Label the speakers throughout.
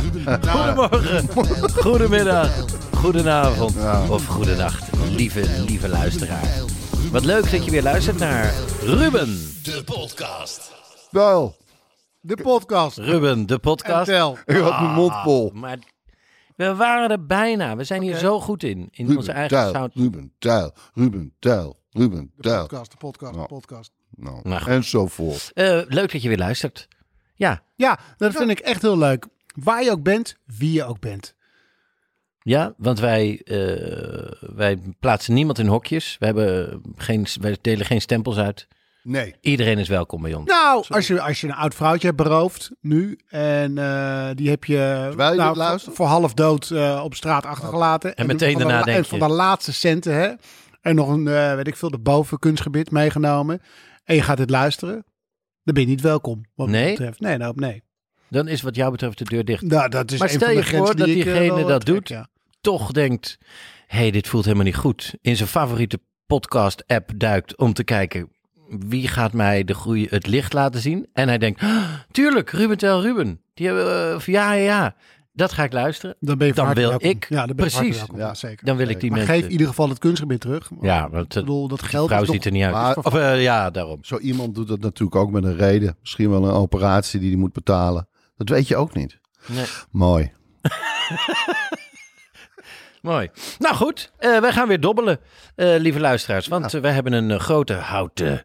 Speaker 1: Ruben Tijl.
Speaker 2: Goedemorgen.
Speaker 1: Ruben Tijl,
Speaker 2: Goedemiddag,
Speaker 1: Ruben Tijl,
Speaker 2: goedenavond of goedenacht, lieve, lieve luisteraar. Wat leuk dat je weer luistert naar Ruben.
Speaker 1: De podcast.
Speaker 3: Wel, de podcast.
Speaker 2: Ruben, Ah, de
Speaker 3: En
Speaker 2: podcast.
Speaker 3: tel.
Speaker 1: Ik had mijn mond vol.
Speaker 2: Maar we waren er bijna. We zijn hier zo goed in, in onze
Speaker 1: Ruben
Speaker 2: eigen
Speaker 1: Tijl,
Speaker 2: sound.
Speaker 1: Ruben Tijl, Ruben Tijl, Ruben
Speaker 3: De
Speaker 1: Tijl.
Speaker 3: podcast, de podcast,
Speaker 1: Nou.
Speaker 3: de podcast.
Speaker 1: Nou,
Speaker 2: Nou, goed.
Speaker 1: enzovoort.
Speaker 2: Eh, leuk dat je weer luistert. Ja,
Speaker 3: Ja, dat vind ik echt heel leuk. Waar je ook bent, wie je ook bent.
Speaker 2: ja want wij, eh, wij plaatsen niemand in hokjes. We hebben geen, wij delen geen stempels uit.
Speaker 1: Nee.
Speaker 2: Iedereen is welkom bij ons.
Speaker 3: Nou, als je, als je een oud vrouwtje hebt beroofd nu en eh, die heb je,
Speaker 1: je
Speaker 3: nou,
Speaker 1: dit luistert? Oh.
Speaker 3: voor, voor half dood eh, op straat achtergelaten. En,
Speaker 2: meteen
Speaker 3: van de
Speaker 2: daarna
Speaker 3: la-
Speaker 2: denk
Speaker 3: en van
Speaker 2: je.
Speaker 3: de laatste centen, hè. En nog een, eh, weet ik veel, de bovenkunstgebied meegenomen. En je gaat dit luisteren. Dan ben je niet welkom, wat mij
Speaker 2: Nee?
Speaker 3: betreft. Nee, nou, nee.
Speaker 2: Dan is wat jou betreft de deur dicht.
Speaker 3: Nou, dat is
Speaker 2: Maar
Speaker 3: een
Speaker 2: stel
Speaker 3: van de
Speaker 2: je
Speaker 3: grenzen
Speaker 2: voor dat
Speaker 3: die ik, eh,
Speaker 2: diegene
Speaker 3: wel
Speaker 2: dat
Speaker 3: trek,
Speaker 2: doet.
Speaker 3: ja.
Speaker 2: toch denkt: hey, dit voelt helemaal niet goed. In zijn favoriete podcast-app duikt om te kijken wie gaat mij de groei het licht laten zien. En hij denkt: "Ah, tuurlijk, Ruben Tel Ruben. Die hebben, we- of ja, ja, ja, dat ga ik luisteren.
Speaker 3: Dan ben je van
Speaker 2: Dan
Speaker 3: harte
Speaker 2: wil
Speaker 3: welkom.
Speaker 2: ik-
Speaker 3: ja, dan ben je van harte
Speaker 2: precies.
Speaker 3: welkom.
Speaker 1: Ja.
Speaker 3: Ja, zeker.
Speaker 2: Dan wil ik die
Speaker 3: maar
Speaker 2: mensen.
Speaker 3: geef in ieder geval het kunstgebied terug.
Speaker 2: ja, want
Speaker 3: ik
Speaker 2: eh,
Speaker 3: bedoel, dat
Speaker 2: de
Speaker 3: geld
Speaker 2: vrouw
Speaker 3: is
Speaker 2: ziet
Speaker 3: nog...
Speaker 2: er niet uit.
Speaker 1: Maar-
Speaker 2: of, eh, ja, daarom.
Speaker 1: Zo iemand doet dat natuurlijk ook met een reden. Misschien wel een operatie die hij moet betalen. Dat weet je ook niet.
Speaker 2: Nee.
Speaker 1: Mooi.
Speaker 2: Mooi. Nou goed, eh, wij gaan weer dobbelen, eh, lieve luisteraars. Want eh, wij hebben een eh, grote houten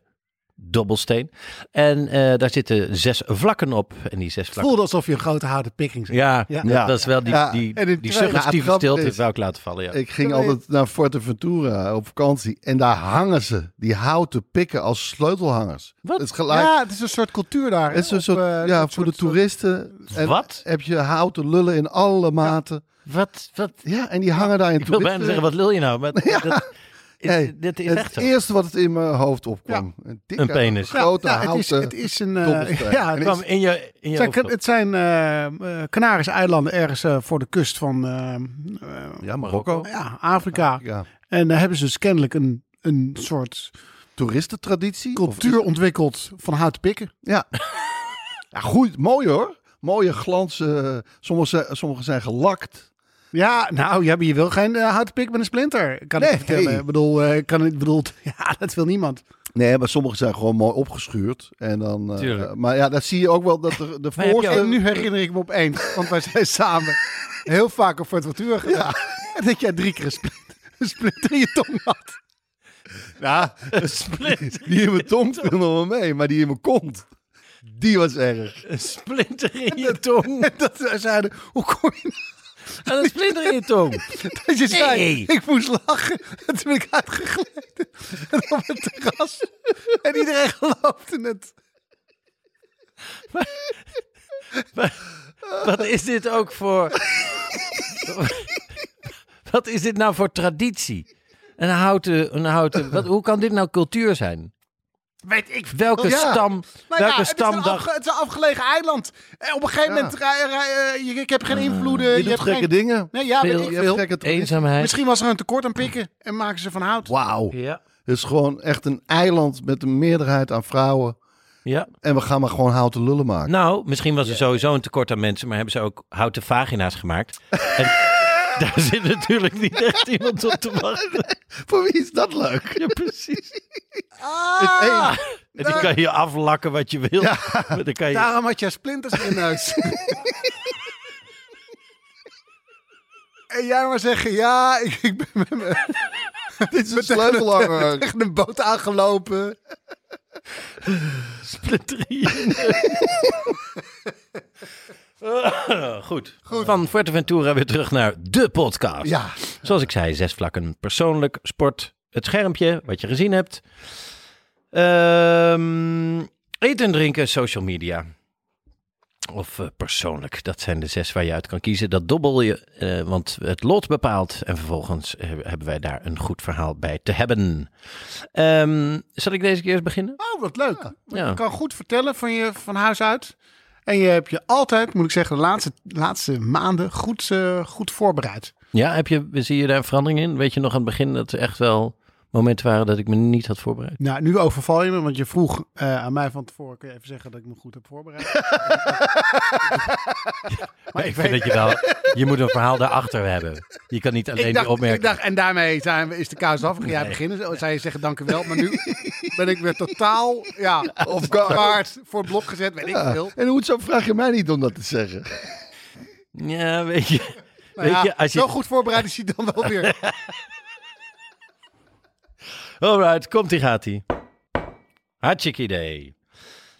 Speaker 2: dobbelsteen. En eh, daar zitten zes vlakken op. En die zes
Speaker 3: Het
Speaker 2: vlakken.
Speaker 3: voelde alsof je een grote harde pikking zat.
Speaker 2: Ja,
Speaker 3: Ja.
Speaker 2: dat-
Speaker 1: Ja.
Speaker 2: dat is wel die,
Speaker 1: Ja,
Speaker 2: die,
Speaker 1: en in
Speaker 2: die
Speaker 1: tweede- Ja, het
Speaker 2: suggestieve
Speaker 1: grappige
Speaker 2: stilte
Speaker 1: is-
Speaker 2: zou ik laten vallen. Ja.
Speaker 1: Ik ging altijd naar Forteventura op vakantie. En daar hangen ze. Die houten pikken als sleutelhangers.
Speaker 2: Wat?
Speaker 1: Het gelijk.
Speaker 3: Ja, het is een soort cultuur daar. hè,
Speaker 1: Het is een
Speaker 3: op,
Speaker 1: soort,
Speaker 3: eh,
Speaker 1: ja,
Speaker 3: dat
Speaker 1: voor de
Speaker 3: soort-
Speaker 1: toeristen. En
Speaker 2: Wat?
Speaker 1: Heb je houten lullen in alle maten.
Speaker 2: Wat, wat,
Speaker 1: Ja, en die hangen daar in
Speaker 2: ik wil bijna zeggen, wat lul je nou? Maar dat,
Speaker 1: Hey,
Speaker 2: dit, dit is
Speaker 1: het
Speaker 2: echt zo.
Speaker 1: eerste wat het in mijn hoofd opkwam. Een, dikke,
Speaker 2: Een penis.
Speaker 1: grote
Speaker 3: Ja, het, is,
Speaker 1: houten.
Speaker 3: het is een... eh,
Speaker 1: dobbelsteen.
Speaker 3: ja,
Speaker 2: Het
Speaker 3: het,
Speaker 2: kwam in je, in je
Speaker 3: zijn,
Speaker 2: hoofd op.
Speaker 3: het zijn eh, eh, Canarische eilanden ergens eh, voor de kust van eh, eh,
Speaker 1: ja, Marokko.
Speaker 3: ja, Afrika.
Speaker 1: Ja.
Speaker 3: En daar hebben ze dus kennelijk een, een soort
Speaker 1: Toeristentraditie.
Speaker 3: cultuur ontwikkeld van houten pikken.
Speaker 1: Ja. ja, goed. Mooi hoor. Mooie glansen. Sommige zijn, sommige zijn gelakt.
Speaker 3: Ja, nou, ja, maar je wil geen eh, houten pik met een splinter, kan
Speaker 1: Nee.
Speaker 3: ik je vertellen. Ik bedoel, eh, kan, ik bedoel, ja, dat wil niemand.
Speaker 1: Nee, maar sommige zijn gewoon mooi opgeschuurd. En dan, eh,
Speaker 2: Tuurlijk.
Speaker 1: maar ja, dat zie je ook wel dat de, de
Speaker 2: heb je
Speaker 1: voorste...
Speaker 3: En nu herinner ik me opeens, want wij zijn samen heel vaak op Fortunatura gegaan. En dat jij drie keer een splinter, een splinter in je tong had.
Speaker 1: Ja, dus die in mijn tong viel nog wel mee, maar die in mijn kont, die was erg.
Speaker 2: Een splinter in je tong.
Speaker 3: Dat wij zeiden, hoe kom je
Speaker 2: En een splinter in je tong.
Speaker 3: nou dat je zei,
Speaker 2: Nee.
Speaker 3: ik moest lachen. En toen ben ik uitgegleden. En op het terras. En iedereen geloofde het.
Speaker 2: Wat is dit ook voor... wat is dit nou voor traditie? Een houten... Een houten wat, hoe kan dit nou cultuur zijn?
Speaker 3: Weet ik
Speaker 2: Welke
Speaker 1: Ja.
Speaker 2: stam... welke
Speaker 3: Nou het, is een
Speaker 2: stamdag...
Speaker 3: afge- het is een afgelegen eiland. En op een gegeven
Speaker 1: Ja.
Speaker 3: moment, ra- ra- eh, je- ik heb geen invloeden.
Speaker 1: Je,
Speaker 3: je
Speaker 1: doet
Speaker 3: hebt
Speaker 1: gekke
Speaker 3: geen,
Speaker 1: dingen.
Speaker 3: Nee, ja, weet
Speaker 2: Veel-
Speaker 3: ik
Speaker 1: Je
Speaker 3: veel.
Speaker 1: hebt gekke toeristen.
Speaker 2: Eenzaamheid.
Speaker 3: Misschien was er een tekort aan pikken en maken ze van hout.
Speaker 1: Wauw.
Speaker 2: Ja.
Speaker 1: Het is gewoon echt een eiland met een meerderheid aan vrouwen.
Speaker 2: Ja.
Speaker 1: En we gaan maar gewoon houten lullen maken.
Speaker 2: Nou, misschien was er sowieso een tekort aan mensen, maar hebben ze ook houten vagina's gemaakt. En daar zit natuurlijk niet echt iemand op te wachten.
Speaker 1: Voor wie is dat leuk?
Speaker 2: Ja, precies.
Speaker 3: Ah!
Speaker 1: Is één.
Speaker 2: En die kan je aflakken wat je wil. Maar dan kan je...
Speaker 3: Daarom had jij splinters in huis. en jij maar zeggen, ja, ik, ik ben met mijn
Speaker 1: Dit is een sleutelhanger.
Speaker 3: tegen een boot aangelopen.
Speaker 2: Goed. Goed. Van Fuerteventura weer terug naar de podcast.
Speaker 3: Ja.
Speaker 2: Zoals ik zei, zes vlakken. Persoonlijk, sport, het schermpje, wat je gezien hebt. Ehm, eten, drinken, social media. Of eh, persoonlijk, dat zijn de zes waar je uit kan kiezen. Dat dobbel je, eh, want het lot bepaalt. En vervolgens eh, hebben wij daar een goed verhaal bij te hebben. Ehm, zal ik deze keer eens beginnen?
Speaker 3: Oh, wat leuk.
Speaker 2: Ja.
Speaker 3: Je kan goed vertellen van, je, van huis uit. En je hebt je altijd, moet ik zeggen, de laatste, laatste maanden goed, eh, goed voorbereid.
Speaker 2: Ja, heb je, zie je daar een verandering in? Weet je nog aan het begin dat er echt wel momenten waren dat ik me niet had voorbereid?
Speaker 3: Nou, nu overval je me, want je vroeg eh, aan mij van tevoren, kun je even zeggen dat ik me goed heb voorbereid?
Speaker 2: Maar ik vind dat je wel, je moet een verhaal daarachter hebben. Je kan niet alleen
Speaker 3: ik
Speaker 2: die
Speaker 3: dacht, ik
Speaker 2: opmerking.
Speaker 3: dacht, en daarmee zijn we, is de kous af. Ga jij beginnen? Zou- Zou je zeggen, dank u wel. Maar nu ben ik weer totaal ja,
Speaker 1: Of
Speaker 3: kaart voor het blok gezet. Weet ik veel. Nou
Speaker 1: En hoezo vraag je mij niet om dat te zeggen?
Speaker 2: Ja, weet je.
Speaker 3: Nou
Speaker 2: weet
Speaker 3: ja,
Speaker 2: je, als je.
Speaker 3: Zo goed voorbereid is hij dan wel weer.
Speaker 2: Alright, komt ie, gaat ie. Hartstikke idee.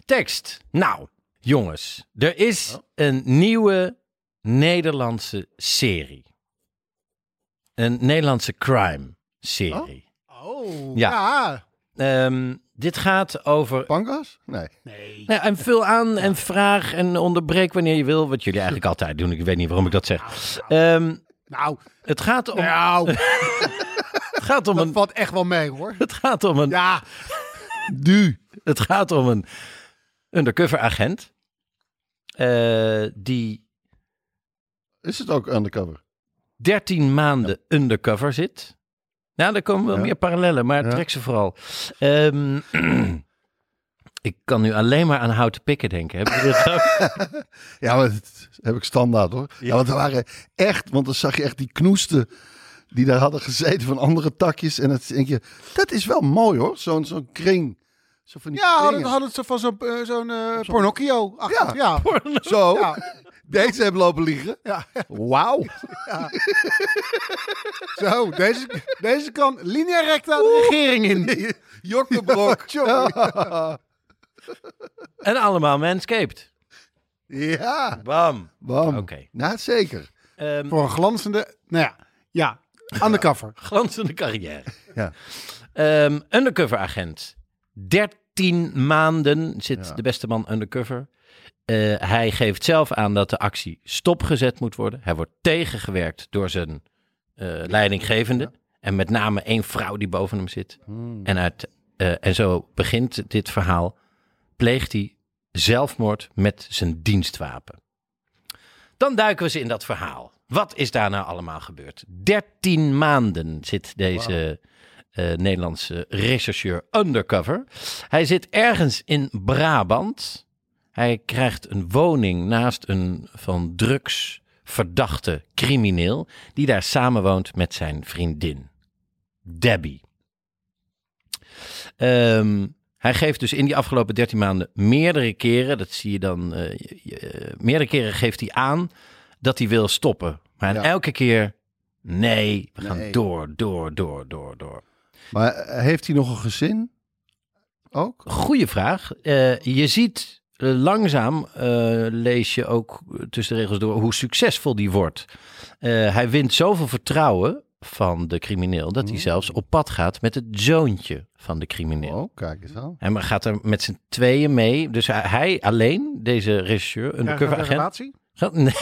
Speaker 2: Tekst. Nou, jongens, er is
Speaker 3: Oh.
Speaker 2: een nieuwe Nederlandse serie. Een Nederlandse crime serie.
Speaker 3: Oh,
Speaker 2: Ja.
Speaker 3: ja.
Speaker 2: Ehm, dit gaat over
Speaker 1: Pangas? Nee.
Speaker 3: Nee.
Speaker 2: Nou, en vul aan en vraag en onderbreek wanneer je wil. Wat jullie eigenlijk altijd doen. Ik weet niet waarom ik dat zeg. Ehm,
Speaker 3: Nou,
Speaker 2: het gaat om,
Speaker 3: nou
Speaker 2: het gaat om
Speaker 3: dat
Speaker 2: een.
Speaker 3: valt echt wel mee hoor.
Speaker 2: Het gaat om een.
Speaker 3: Ja,
Speaker 2: Du. Het gaat om een undercover agent. eh, die
Speaker 1: Is het ook undercover?
Speaker 2: 13 maanden undercover zit. Nou, daar komen wel
Speaker 1: Ja.
Speaker 2: meer parallellen, maar
Speaker 1: Ja.
Speaker 2: trek ze vooral. Ehm, ik kan nu alleen maar aan houten pikken denken. Heb je dit ook?
Speaker 1: Ja, maar dat heb ik standaard hoor. Ja, want er waren echt, want dan zag je echt die knoesten die daar hadden gezeten van andere takjes. En dan denk je, dat is wel mooi hoor, zo'n zo'n kring. Zo van die
Speaker 3: ja hadden,
Speaker 1: kringen.
Speaker 3: hadden het zo van zo'n eh, zo'n eh, Pornocchio. Ach,
Speaker 1: Ja.
Speaker 3: ja. ja.
Speaker 1: Zo,
Speaker 3: Ja.
Speaker 1: deze hebben lopen liggen.
Speaker 3: Ja.
Speaker 1: Wauw.
Speaker 3: Zo, deze, deze kan linea recta de regering in.
Speaker 1: Jok de Brok.
Speaker 2: En allemaal manscaped.
Speaker 1: Ja,
Speaker 2: Bam.
Speaker 1: bam.
Speaker 2: Oké.
Speaker 1: Nou, zeker.
Speaker 2: Ehm,
Speaker 3: Voor een glanzende, nou ja, ja, undercover.
Speaker 2: glanzende carrière.
Speaker 1: Ja.
Speaker 2: Ehm, undercover agent. 13 maanden zit
Speaker 1: Ja.
Speaker 2: de beste man undercover. Eh, hij geeft zelf aan dat de actie stopgezet moet worden. Hij wordt tegengewerkt door zijn eh, leidinggevende. En met name één vrouw die boven hem zit.
Speaker 1: Hmm.
Speaker 2: En, uit, eh, en zo begint dit verhaal. Pleegt hij zelfmoord met zijn dienstwapen. Dan duiken we ze in dat verhaal. Wat is daar nou allemaal gebeurd? 13 maanden zit deze eh, Nederlandse rechercheur undercover. Hij zit ergens in Brabant. Hij krijgt een woning naast een van drugs verdachte crimineel die daar samenwoont met zijn vriendin Debbie. Ehm, hij geeft dus in die afgelopen 13 maanden meerdere keren, dat zie je dan, eh, je- je- eh, meerdere keren geeft hij aan dat hij wil stoppen. Maar
Speaker 1: Ja.
Speaker 2: elke keer, nee, we gaan
Speaker 1: Nee.
Speaker 2: door, door, door, door, door.
Speaker 1: Maar eh, heeft hij nog een gezin? Ook?
Speaker 2: Goeie vraag. Eh, je ziet eh, langzaam, eh, lees je ook tussen de regels door, hoe succesvol die wordt. Eh, hij wint zoveel vertrouwen van de crimineel dat
Speaker 1: Mm.
Speaker 2: hij zelfs op pad gaat met het zoontje van de crimineel.
Speaker 1: Oh, kijk eens aan.
Speaker 2: Hij gaat er met z'n tweeën mee. Dus hij, hij alleen, deze regisseur,
Speaker 3: Krijgen we
Speaker 2: undercover
Speaker 3: een
Speaker 2: agent.
Speaker 3: relatie?
Speaker 2: Gaat, nee,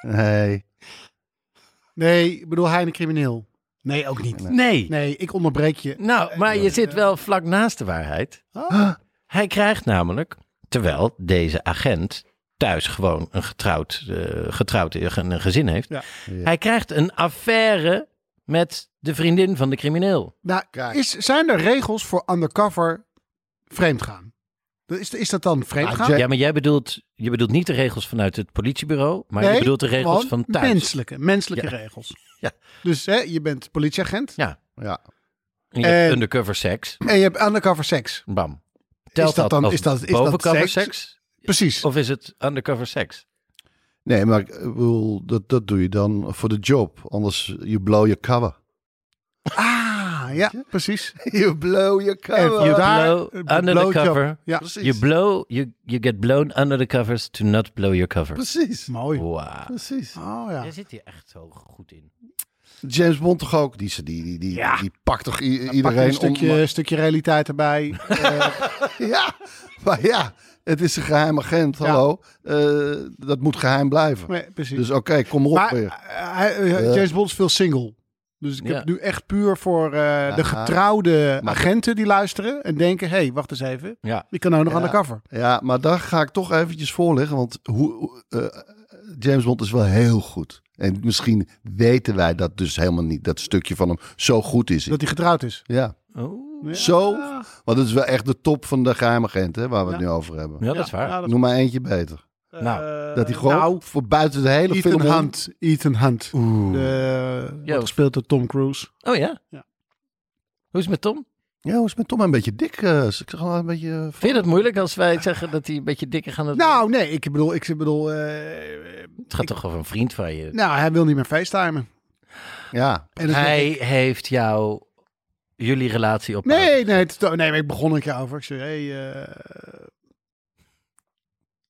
Speaker 1: Nee.
Speaker 3: Nee, ik bedoel hij een crimineel. Nee, ook niet. Nee,
Speaker 2: nee.
Speaker 3: ik onderbreek je.
Speaker 2: Nou, maar je zit wel vlak naast de waarheid. Hij krijgt namelijk, terwijl deze agent thuis gewoon een getrouwd, eh, getrouwd eh, een gezin heeft.
Speaker 3: Ja.
Speaker 2: Hij krijgt een affaire met de vriendin van de crimineel.
Speaker 3: Nou,
Speaker 1: Kijk.
Speaker 3: is, zijn er regels voor undercover vreemdgaan? Dat Is, is dat dan vreemdgaan?
Speaker 1: Jack-
Speaker 2: Ja, maar jij bedoelt, je bedoelt niet de regels vanuit het politiebureau, maar je
Speaker 3: Nee,
Speaker 2: bedoelt de regels
Speaker 3: gewoon
Speaker 2: van thuis.
Speaker 3: Menselijke, menselijke
Speaker 2: Ja.
Speaker 3: regels.
Speaker 2: Ja.
Speaker 3: Dus hè, je bent politieagent
Speaker 2: Ja,
Speaker 1: Ja.
Speaker 2: en je hebt
Speaker 3: En-
Speaker 2: undercover seks.
Speaker 3: en je hebt undercover seks.
Speaker 2: Bam. Telt
Speaker 3: dat dan-
Speaker 2: als
Speaker 3: is dat- is dat
Speaker 2: bovencover
Speaker 3: seks?
Speaker 2: seks?
Speaker 3: Precies.
Speaker 2: Of is het undercover seks?
Speaker 1: Nee, maar ik bedoel, dat, dat doe je dan voor de job. Anders, you blow your cover.
Speaker 3: Ah, ja, precies.
Speaker 1: You blow your cover.
Speaker 3: You
Speaker 2: You
Speaker 3: Daar-
Speaker 2: blow
Speaker 3: eh,
Speaker 2: under the
Speaker 3: blowjob.
Speaker 2: cover.
Speaker 3: Ja,
Speaker 1: Precies.
Speaker 2: You blow, you, you get blown under the covers to not blow your cover.
Speaker 1: Precies.
Speaker 3: Mooi. Oh
Speaker 2: Wow.
Speaker 1: Precies.
Speaker 3: ja.
Speaker 2: Jij zit hier echt zo goed in.
Speaker 1: James Bond toch ook? Die, die, die, die,
Speaker 3: Ja.
Speaker 1: die pakt toch i-
Speaker 3: Pak
Speaker 1: iedereen
Speaker 3: een stukje,
Speaker 1: om?
Speaker 3: stukje realiteit erbij. Eh,
Speaker 1: Ja, maar ja, het is een geheim agent, hallo. Eh, dat moet geheim blijven.
Speaker 3: Nee, precies.
Speaker 1: Dus oké, kom erop
Speaker 3: maar
Speaker 1: weer.
Speaker 3: eh, hij- eh, James Bond is veel single. Dus ik
Speaker 2: Ja.
Speaker 3: heb nu echt puur voor eh, de getrouwde agenten die luisteren en denken: hé, hey, wacht eens even.
Speaker 2: Ja.
Speaker 3: Ik kan ook nog undercover.
Speaker 1: Ja, maar daar ga ik toch eventjes voor liggen, want hoe, hoe- eh, James Bond is wel heel goed. En misschien weten wij dat dus helemaal niet, dat stukje van hem. Zo goed is hij.
Speaker 3: Dat hij getrouwd is.
Speaker 1: Ja,
Speaker 2: Oh.
Speaker 1: zo. Want het is wel echt de top van de geheim agent, hè, waar we het
Speaker 3: Ja.
Speaker 1: nu over hebben.
Speaker 2: Ja, Oh, dat is waar.
Speaker 3: Ja, Nou, dat-
Speaker 1: Noem maar eentje beter.
Speaker 2: nou,
Speaker 1: dat hij gewoon
Speaker 3: nou,
Speaker 1: voor buiten de hele
Speaker 3: Ethan
Speaker 1: film... om-
Speaker 3: Hunt. Ethan Hunt.
Speaker 2: Oeh.
Speaker 3: De,
Speaker 2: Ja,
Speaker 3: wordt gespeeld door Tom Cruise.
Speaker 2: Oh ja?
Speaker 3: Ja.
Speaker 2: Hoe is het met Tom?
Speaker 1: Ja, hoe is het met Tom een beetje dik? eh, is ik zeg wel een beetje... eh,
Speaker 2: Vind je dat moeilijk als wij zeggen dat hij een beetje dikker gaat?
Speaker 3: Nou, nee, ik bedoel, ik bedoel, eh,
Speaker 2: het gaat toch over een vriend van je.
Speaker 3: nou, hij wil niet meer facetimen.
Speaker 1: eh, Ja,
Speaker 3: En dat-
Speaker 2: hij heeft jou, jullie relatie op.
Speaker 3: Nee, nee, het, nee, maar ik begon er een keer over. Ik zei, hey, eh,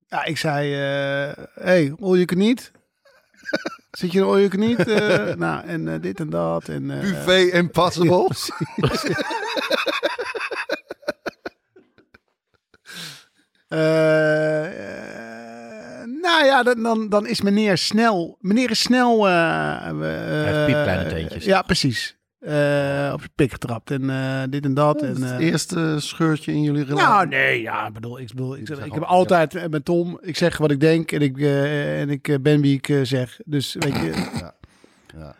Speaker 3: ja, ik zei, eh hey, all you can eat. Zit je in all you can eat? Eh, nou, en eh, dit en dat. En, eh,
Speaker 1: Buffet Impossible.
Speaker 3: eh, eh, nou ja, dan, dan, dan is meneer snel. Meneer is snel. eh
Speaker 2: heeft
Speaker 3: Hij
Speaker 2: piepkleine teentjes.
Speaker 3: Ja, precies. Eh, op zijn pik getrapt en eh, dit en dat. en, eh,
Speaker 1: Het eerste scheurtje in jullie relatie.
Speaker 3: Nou, nee, ja, ik bedoel, ik, bedoel, ik, zeg, ik heb
Speaker 1: al-
Speaker 3: altijd eh, met Tom, ik zeg wat ik denk en ik, eh, en ik eh, ben wie ik eh, zeg. Dus weet je.
Speaker 1: Ja, ja.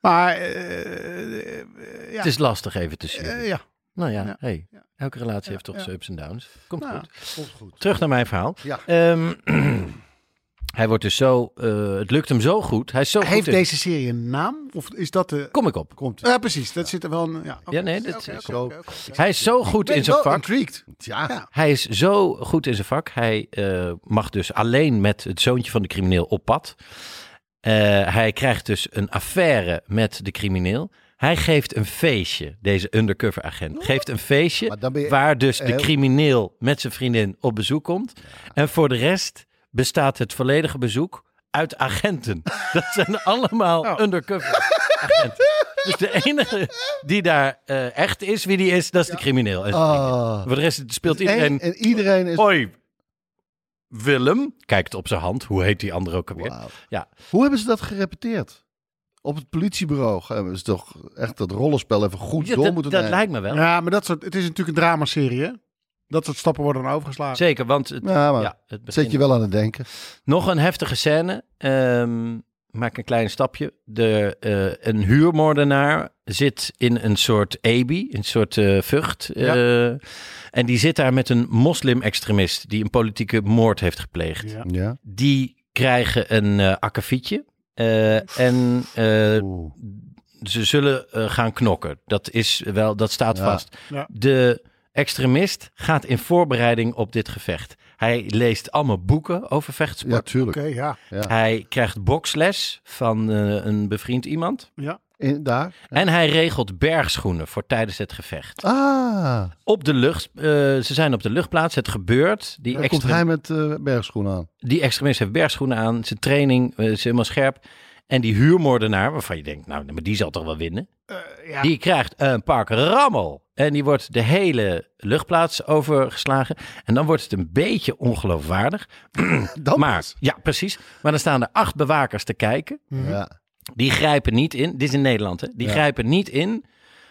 Speaker 3: Maar, eh, eh, ja.
Speaker 2: Het is lastig even te zien.
Speaker 3: Eh, ja.
Speaker 2: nou ja,
Speaker 3: ja.
Speaker 2: hey, elke relatie heeft toch
Speaker 3: ja.
Speaker 2: zijn ups en downs. Komt
Speaker 3: Nou,
Speaker 2: goed. Terug naar mijn verhaal.
Speaker 1: Ja.
Speaker 2: Ehm, hij wordt dus zo, eh, het lukt hem zo goed. Hij is zo
Speaker 3: Heeft
Speaker 2: goed in-
Speaker 3: deze serie een naam? Of is dat de.
Speaker 2: Kom ik op.
Speaker 1: Komt
Speaker 3: Ja, precies. Dat zit er wel een. Ja, oké.
Speaker 2: Ja, nee, dit
Speaker 3: Oké,
Speaker 2: is
Speaker 3: oké,
Speaker 1: zo.
Speaker 3: oké, oké.
Speaker 2: Hij is zo goed
Speaker 3: ben
Speaker 2: in zijn
Speaker 3: wel
Speaker 2: vak.
Speaker 3: intrigued.
Speaker 1: Ja.
Speaker 3: Ja.
Speaker 2: Hij is zo goed in zijn vak. Hij eh, mag dus alleen met het zoontje van de crimineel op pad. Eh, hij krijgt dus een affaire met de crimineel. Hij geeft een feestje, deze undercover agent. Geeft een feestje
Speaker 1: Maar dan ben je
Speaker 2: waar dus de
Speaker 1: heel-
Speaker 2: crimineel met zijn vriendin op bezoek komt. En voor de rest bestaat het volledige bezoek uit agenten. Dat zijn allemaal
Speaker 1: Nou.
Speaker 2: undercover agenten. Dus de enige die daar eh, echt is, wie die is, dat is de crimineel. En zijn vriendin.
Speaker 1: Ah.
Speaker 2: Voor de rest speelt
Speaker 1: En,
Speaker 2: iedereen.
Speaker 1: en iedereen is...
Speaker 2: Hoi, Willem. Kijkt op zijn hand. Hoe heet die andere ook alweer?
Speaker 1: Wauw.
Speaker 2: Ja.
Speaker 1: Hoe hebben ze dat gerepeteerd? Op het politiebureau hebben ze toch echt dat rollenspel even goed
Speaker 2: Ja,
Speaker 1: door
Speaker 2: dat
Speaker 1: moeten
Speaker 2: dat
Speaker 1: nemen.
Speaker 2: lijkt me wel.
Speaker 3: Ja, maar dat soort. Het is natuurlijk een dramaserie. hè? Dat soort stappen worden dan overgeslagen.
Speaker 2: Zeker, want het,
Speaker 1: Ja, maar
Speaker 2: ja, het
Speaker 1: zet
Speaker 2: begint.
Speaker 1: je wel aan het denken.
Speaker 2: Nog een heftige scène. Ehm, maak een klein stapje. De, eh, een huurmoordenaar zit in een soort ebi, een soort eh, vucht. eh, en die zit daar met een moslim-extremist die een politieke moord heeft gepleegd.
Speaker 3: Ja.
Speaker 1: Ja.
Speaker 2: Die krijgen een eh akkefietje. Eh, en eh,
Speaker 1: Oeh.
Speaker 2: ze zullen eh, gaan knokken. Dat, is wel, dat staat
Speaker 1: Ja.
Speaker 2: vast.
Speaker 3: Ja.
Speaker 2: De extremist gaat in voorbereiding op dit gevecht. Hij leest allemaal boeken over vechtsport.
Speaker 1: Ja, tuurlijk.
Speaker 3: Oké, ja.
Speaker 2: Hij krijgt boksles van eh, een bevriend iemand.
Speaker 3: ja.
Speaker 1: eh, In, daar.
Speaker 2: En hij regelt bergschoenen voor tijdens het gevecht.
Speaker 1: Ah,
Speaker 2: Op de lucht, eh, ze zijn op de luchtplaats, het gebeurt. Die,
Speaker 1: dan komt
Speaker 2: extre-
Speaker 1: hij met eh bergschoenen aan.
Speaker 2: die extremist heeft bergschoenen aan, zijn training eh, is helemaal scherp. En die huurmoordenaar, waarvan je denkt, nou, maar die zal toch wel winnen.
Speaker 3: ja.
Speaker 2: Die krijgt een pak rammel. En die wordt de hele luchtplaats overgeslagen. En dan wordt het een beetje ongeloofwaardig.
Speaker 1: Dan
Speaker 2: maar,
Speaker 1: pas.
Speaker 2: ja, precies. Maar dan staan er acht bewakers te kijken.
Speaker 1: Ja.
Speaker 2: Die grijpen niet in. Dit is in Nederland, hè? Die
Speaker 1: Ja.
Speaker 2: grijpen niet in.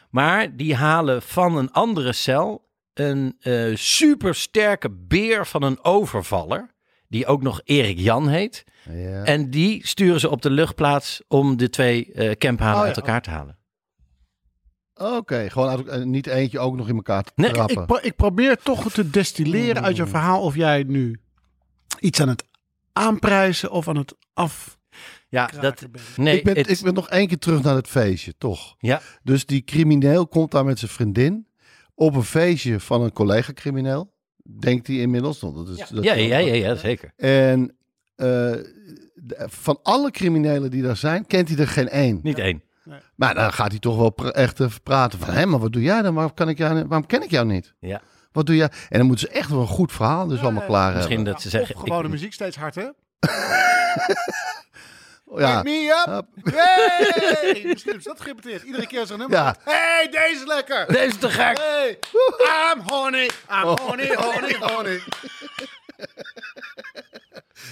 Speaker 2: Maar die halen van een andere cel een eh supersterke beer van een overvaller. Die ook nog Erik Jan heet.
Speaker 1: Ja.
Speaker 2: En die sturen ze op de luchtplaats om de twee eh camphanen
Speaker 3: Oh ja.
Speaker 2: uit elkaar te halen.
Speaker 1: Oké, gewoon uit- eh, niet eentje ook nog in elkaar te
Speaker 2: Nee,
Speaker 1: trappen.
Speaker 3: Ik, pro- ik probeer toch te destilleren uit je verhaal of jij nu iets aan het aanprijzen of aan het af.
Speaker 2: Ja, dat... Nee,
Speaker 1: ik, ben,
Speaker 2: het-
Speaker 1: ik ben nog één keer terug naar het feestje, toch?
Speaker 2: Ja,
Speaker 1: Dus die crimineel komt daar met zijn vriendin op een feestje van een collega-crimineel. Denkt hij inmiddels. want Dat is, dat-
Speaker 2: ja, ja, ja, ja, zeker.
Speaker 1: En eh, de- van alle criminelen die daar zijn, kent hij er geen één.
Speaker 2: Niet één.
Speaker 1: Maar dan gaat hij toch wel pra- echt even praten van... hé, maar wat doe jij dan? Waarom, kan ik jou, niet- waarom ken ik jou niet?
Speaker 2: Ja.
Speaker 1: Wat doe jij? En dan moeten ze echt wel een goed verhaal dus allemaal klaar
Speaker 2: Misschien dat ze zeggen...
Speaker 3: Of gewoon de
Speaker 2: ik-
Speaker 3: muziek steeds hard, hè?
Speaker 1: hebben. Ja.
Speaker 3: Pick me up.
Speaker 1: Hup.
Speaker 3: Hey! Misschien is dat gerepeteerd. Iedere keer zo'n nummer.
Speaker 1: Ja.
Speaker 3: Hey, deze is lekker.
Speaker 2: Deze is te gek!
Speaker 3: Hey, I'm horny. I'm horny, horny, horny.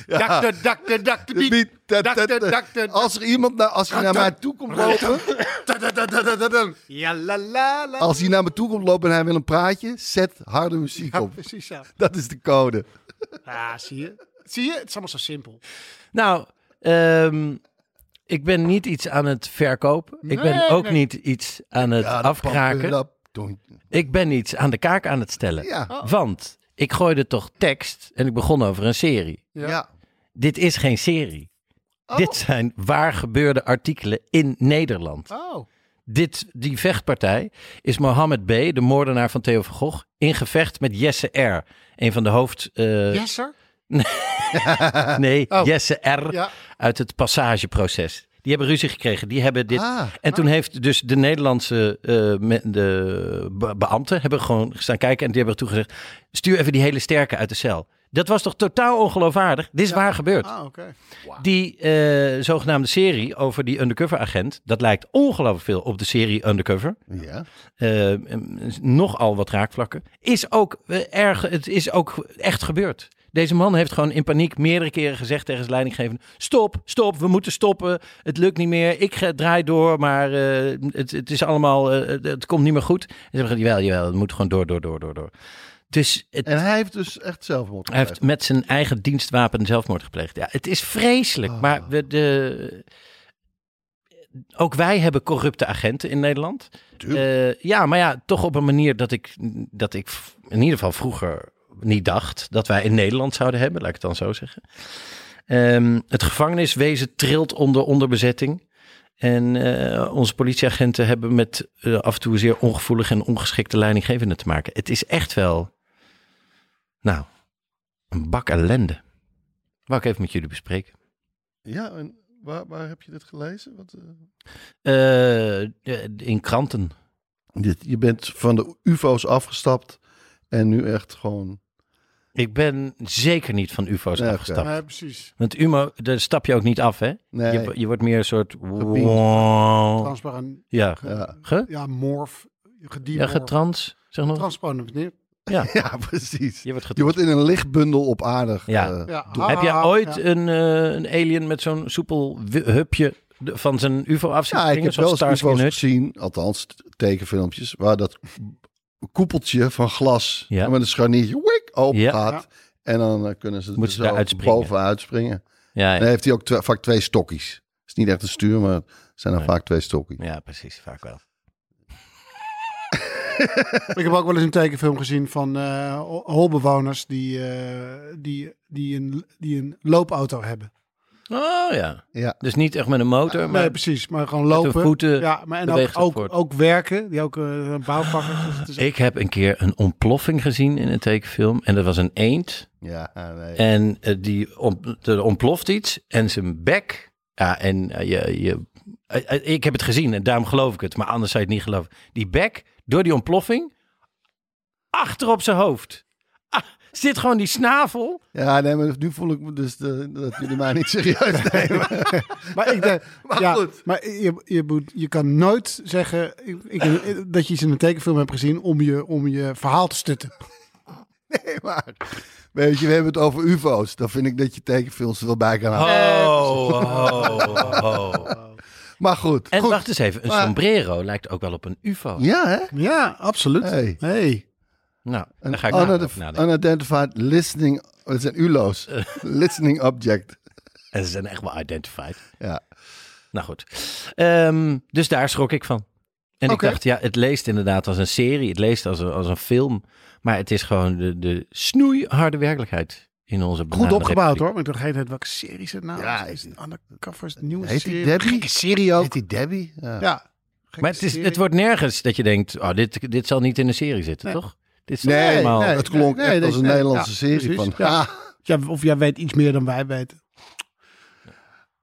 Speaker 1: Ah.
Speaker 3: Dakte, dakte, dakte,
Speaker 1: Dus
Speaker 3: biet.
Speaker 1: niet dat-
Speaker 3: Dakte,
Speaker 1: dat-
Speaker 3: dakte,
Speaker 1: Als er iemand naar, als hij naar mij toe komt lopen...
Speaker 3: dakte. Ja, la, la,
Speaker 2: Oh.
Speaker 3: la.
Speaker 1: Als hij naar me toe komt lopen en hij wil een praatje, zet harde muziek
Speaker 3: Ja,
Speaker 1: op.
Speaker 3: precies zo.
Speaker 1: Dat is de code.
Speaker 3: Ah, zie je? Zie je? Het is allemaal zo simpel.
Speaker 2: Nou, ehm, ik ben niet iets aan het verkopen. ik ben
Speaker 3: Nee,
Speaker 2: ook
Speaker 3: nee.
Speaker 2: niet iets aan het afkraken. Ik ben iets aan de kaak aan het stellen.
Speaker 1: Ja.
Speaker 3: Oh.
Speaker 2: Want ik gooide toch tekst en ik begon over een serie.
Speaker 1: Ja.
Speaker 2: Dit is geen serie.
Speaker 3: Oh.
Speaker 2: Dit zijn waar gebeurde artikelen in Nederland.
Speaker 3: Oh.
Speaker 2: Dit, die vechtpartij is Mohammed B., de moordenaar van Theo van Gogh, in gevecht met Jesse R., een van de hoofd... eh,
Speaker 3: Yes, sir. Oh.
Speaker 2: Nee, Jesse R.
Speaker 3: Ja.
Speaker 2: uit het passageproces. Die hebben ruzie gekregen. Die hebben dit.
Speaker 1: Ah.
Speaker 2: en toen heeft dus de Nederlandse eh, me- de be- beambten hebben gewoon staan kijken. En die hebben toen gezegd: stuur even die hele sterke uit de cel. Dat was toch totaal ongeloofwaardig? Dit is waar gebeurd.
Speaker 3: Ah, oké.
Speaker 2: Die eh, zogenaamde serie over die undercover agent, dat lijkt ongelooflijk veel op de serie Undercover.
Speaker 1: Ja.
Speaker 2: Eh, em, nogal wat raakvlakken. Is ook, eh, erg, het is ook echt gebeurd. Deze man heeft gewoon in paniek meerdere keren gezegd tegen zijn leidinggevende: Stop, stop, we moeten stoppen. Het lukt niet meer. Ik ga- draai door, maar eh, het, het is allemaal, eh, het, het komt niet meer goed. En ze hebben gezegd: Jawel, jawel, het moet gewoon door, door, door, door. door. Dus het,
Speaker 1: En hij heeft dus echt zelfmoord
Speaker 2: hij heeft
Speaker 1: gepleegd.
Speaker 2: met zijn eigen dienstwapen zelfmoord gepleegd. Ja, het is vreselijk. Maar we, de, ook wij hebben corrupte agenten in Nederland. Eh, ja, maar ja, toch op een manier dat ik, dat ik v- in ieder geval vroeger niet dacht dat wij in Nederland zouden hebben, laat ik het dan zo zeggen. Ehm, het gevangeniswezen trilt onder onderbezetting. En eh, onze politieagenten hebben met eh, af en toe zeer ongevoelige en ongeschikte leidinggevenden te maken. Het is echt wel, nou, een bak ellende. Wou ik even met jullie bespreken.
Speaker 1: Ja, en waar, waar heb je dit gelezen? Wat, eh?
Speaker 2: Eh, eh, in kranten.
Speaker 1: Dit- je bent van de ufo's afgestapt en nu echt gewoon...
Speaker 2: Ik ben zeker niet van UFO's
Speaker 1: Nee, oké.
Speaker 2: afgestapt.
Speaker 3: Ja, precies.
Speaker 2: Want UMO, daar stap je ook niet af, hè?
Speaker 1: Nee.
Speaker 2: Je, je wordt meer een soort.
Speaker 1: Gebeamd.
Speaker 2: Wow.
Speaker 3: Transparant.
Speaker 2: Ja,
Speaker 1: Ja,
Speaker 2: ge,
Speaker 3: Ja, morf. Gedie
Speaker 2: ja, getrans. Zeg nog.
Speaker 3: Transparant, meneer.
Speaker 2: Ja,
Speaker 1: ja precies.
Speaker 2: je wordt
Speaker 1: Je
Speaker 2: getrans.
Speaker 1: wordt in een lichtbundel op eh, aarde. ge-
Speaker 2: Ja.
Speaker 3: Ja. ha,
Speaker 2: Heb jij
Speaker 3: ha,
Speaker 2: ooit
Speaker 3: Ah, ja.
Speaker 2: een, eh, een alien met zo'n soepel wi- hupje de- van zijn UFO af zien
Speaker 1: Ja, ik
Speaker 2: springen,
Speaker 1: heb wel
Speaker 2: zoals
Speaker 1: eens ufo's
Speaker 2: Starsky Hutch?
Speaker 1: gezien, althans t- tekenfilmpjes, waar dat koepeltje van glas
Speaker 2: Ja.
Speaker 1: met een scharniertje wik, open
Speaker 2: Ja.
Speaker 1: gaat. En dan eh, kunnen ze
Speaker 2: Moeten
Speaker 1: er
Speaker 2: ze
Speaker 1: zelf
Speaker 2: eruit springen.
Speaker 1: bovenuit springen.
Speaker 2: Ja,
Speaker 1: En
Speaker 2: ja.
Speaker 1: dan heeft hij ook twe- vaak twee stokjes. Het is niet echt een stuur, maar het zijn dan vaak twee stokjes.
Speaker 2: ja, precies. Vaak wel.
Speaker 3: Ik heb ook wel eens een tekenfilm gezien van eh, hol- holbewoners die, eh, die, die, een, die een loopauto hebben.
Speaker 2: Oh ja.
Speaker 1: Ja.
Speaker 2: Dus niet echt met een motor, maar
Speaker 3: nee, precies. Maar gewoon
Speaker 2: de
Speaker 3: lopen.
Speaker 2: voeten
Speaker 3: ja, maar en
Speaker 2: beweegt
Speaker 3: ook,
Speaker 2: het
Speaker 3: ook,
Speaker 2: voort.
Speaker 3: ook werken. Die ook eh, een bouwvakker. Dus het is
Speaker 2: Ik heb een keer een ontploffing gezien in een tekenfilm. En dat was een eend.
Speaker 1: Ja, ah, nee.
Speaker 2: En eh, die ont- er ontploft iets. En zijn bek. Ja, en eh, je, je, eh, eh, ik heb het gezien en daarom geloof ik het. Maar anders zou je het niet geloven. Die bek, door die ontploffing, achter op zijn hoofd. Ah, zit gewoon die snavel.
Speaker 1: ja, nee, maar nu voel ik me dus de- dat jullie mij niet serieus nemen.
Speaker 3: Maar ik denk,
Speaker 1: Maar
Speaker 3: ja,
Speaker 1: goed.
Speaker 3: maar je, je, moet, je kan nooit zeggen ik, ik- dat je iets in een tekenfilm hebt gezien om je, om je verhaal te stutten.
Speaker 1: Nee, maar weet je, we hebben het over ufo's. Dan vind ik dat je tekenfilms er wel bij kan halen.
Speaker 2: Oh, oh, oh.
Speaker 1: Maar goed.
Speaker 2: En
Speaker 1: goed.
Speaker 2: wacht eens even, een
Speaker 1: Maar-
Speaker 2: sombrero lijkt ook wel op een ufo.
Speaker 1: Ja, hè?
Speaker 3: Ja, absoluut.
Speaker 1: Hey.
Speaker 3: hey.
Speaker 2: Nou,
Speaker 1: Een
Speaker 2: daar ga ik
Speaker 1: unidentified-
Speaker 2: nader over nadenken.
Speaker 1: unidentified listening. Het zijn ULO's. listening object.
Speaker 2: En ze zijn echt wel identified.
Speaker 1: Ja.
Speaker 2: Nou goed. Ehm, dus daar schrok ik van. En
Speaker 3: Oké.
Speaker 2: ik dacht, ja, het leest inderdaad als een serie, het leest als een, als een film. Maar het is gewoon de, de snoeiharde werkelijkheid in
Speaker 1: Nou,
Speaker 2: onze
Speaker 3: Goed opgebouwd
Speaker 2: bananenrepubliek.
Speaker 3: hoor. Maar ik dacht, heet het, welke serie is het nou?
Speaker 1: Ja,
Speaker 3: is
Speaker 1: ik-
Speaker 3: het Undercover? Is het een nieuwe
Speaker 1: Heet die
Speaker 3: serie?
Speaker 1: Debbie?
Speaker 3: Gekke serie ook.
Speaker 1: Heet die Debbie? Ja.
Speaker 3: Ja.
Speaker 2: Maar het, is, het wordt nergens dat je denkt, oh, dit, dit zal niet in een serie zitten, toch? Dit is helemaal...
Speaker 3: nee.
Speaker 1: het klonk
Speaker 3: nee,
Speaker 1: echt
Speaker 3: nee,
Speaker 1: als een
Speaker 3: nee.
Speaker 1: Nederlandse
Speaker 3: Ja,
Speaker 1: serie.
Speaker 3: precies.
Speaker 1: van,
Speaker 3: Ja.
Speaker 1: ah,
Speaker 3: Ja, of jij weet iets meer dan wij weten.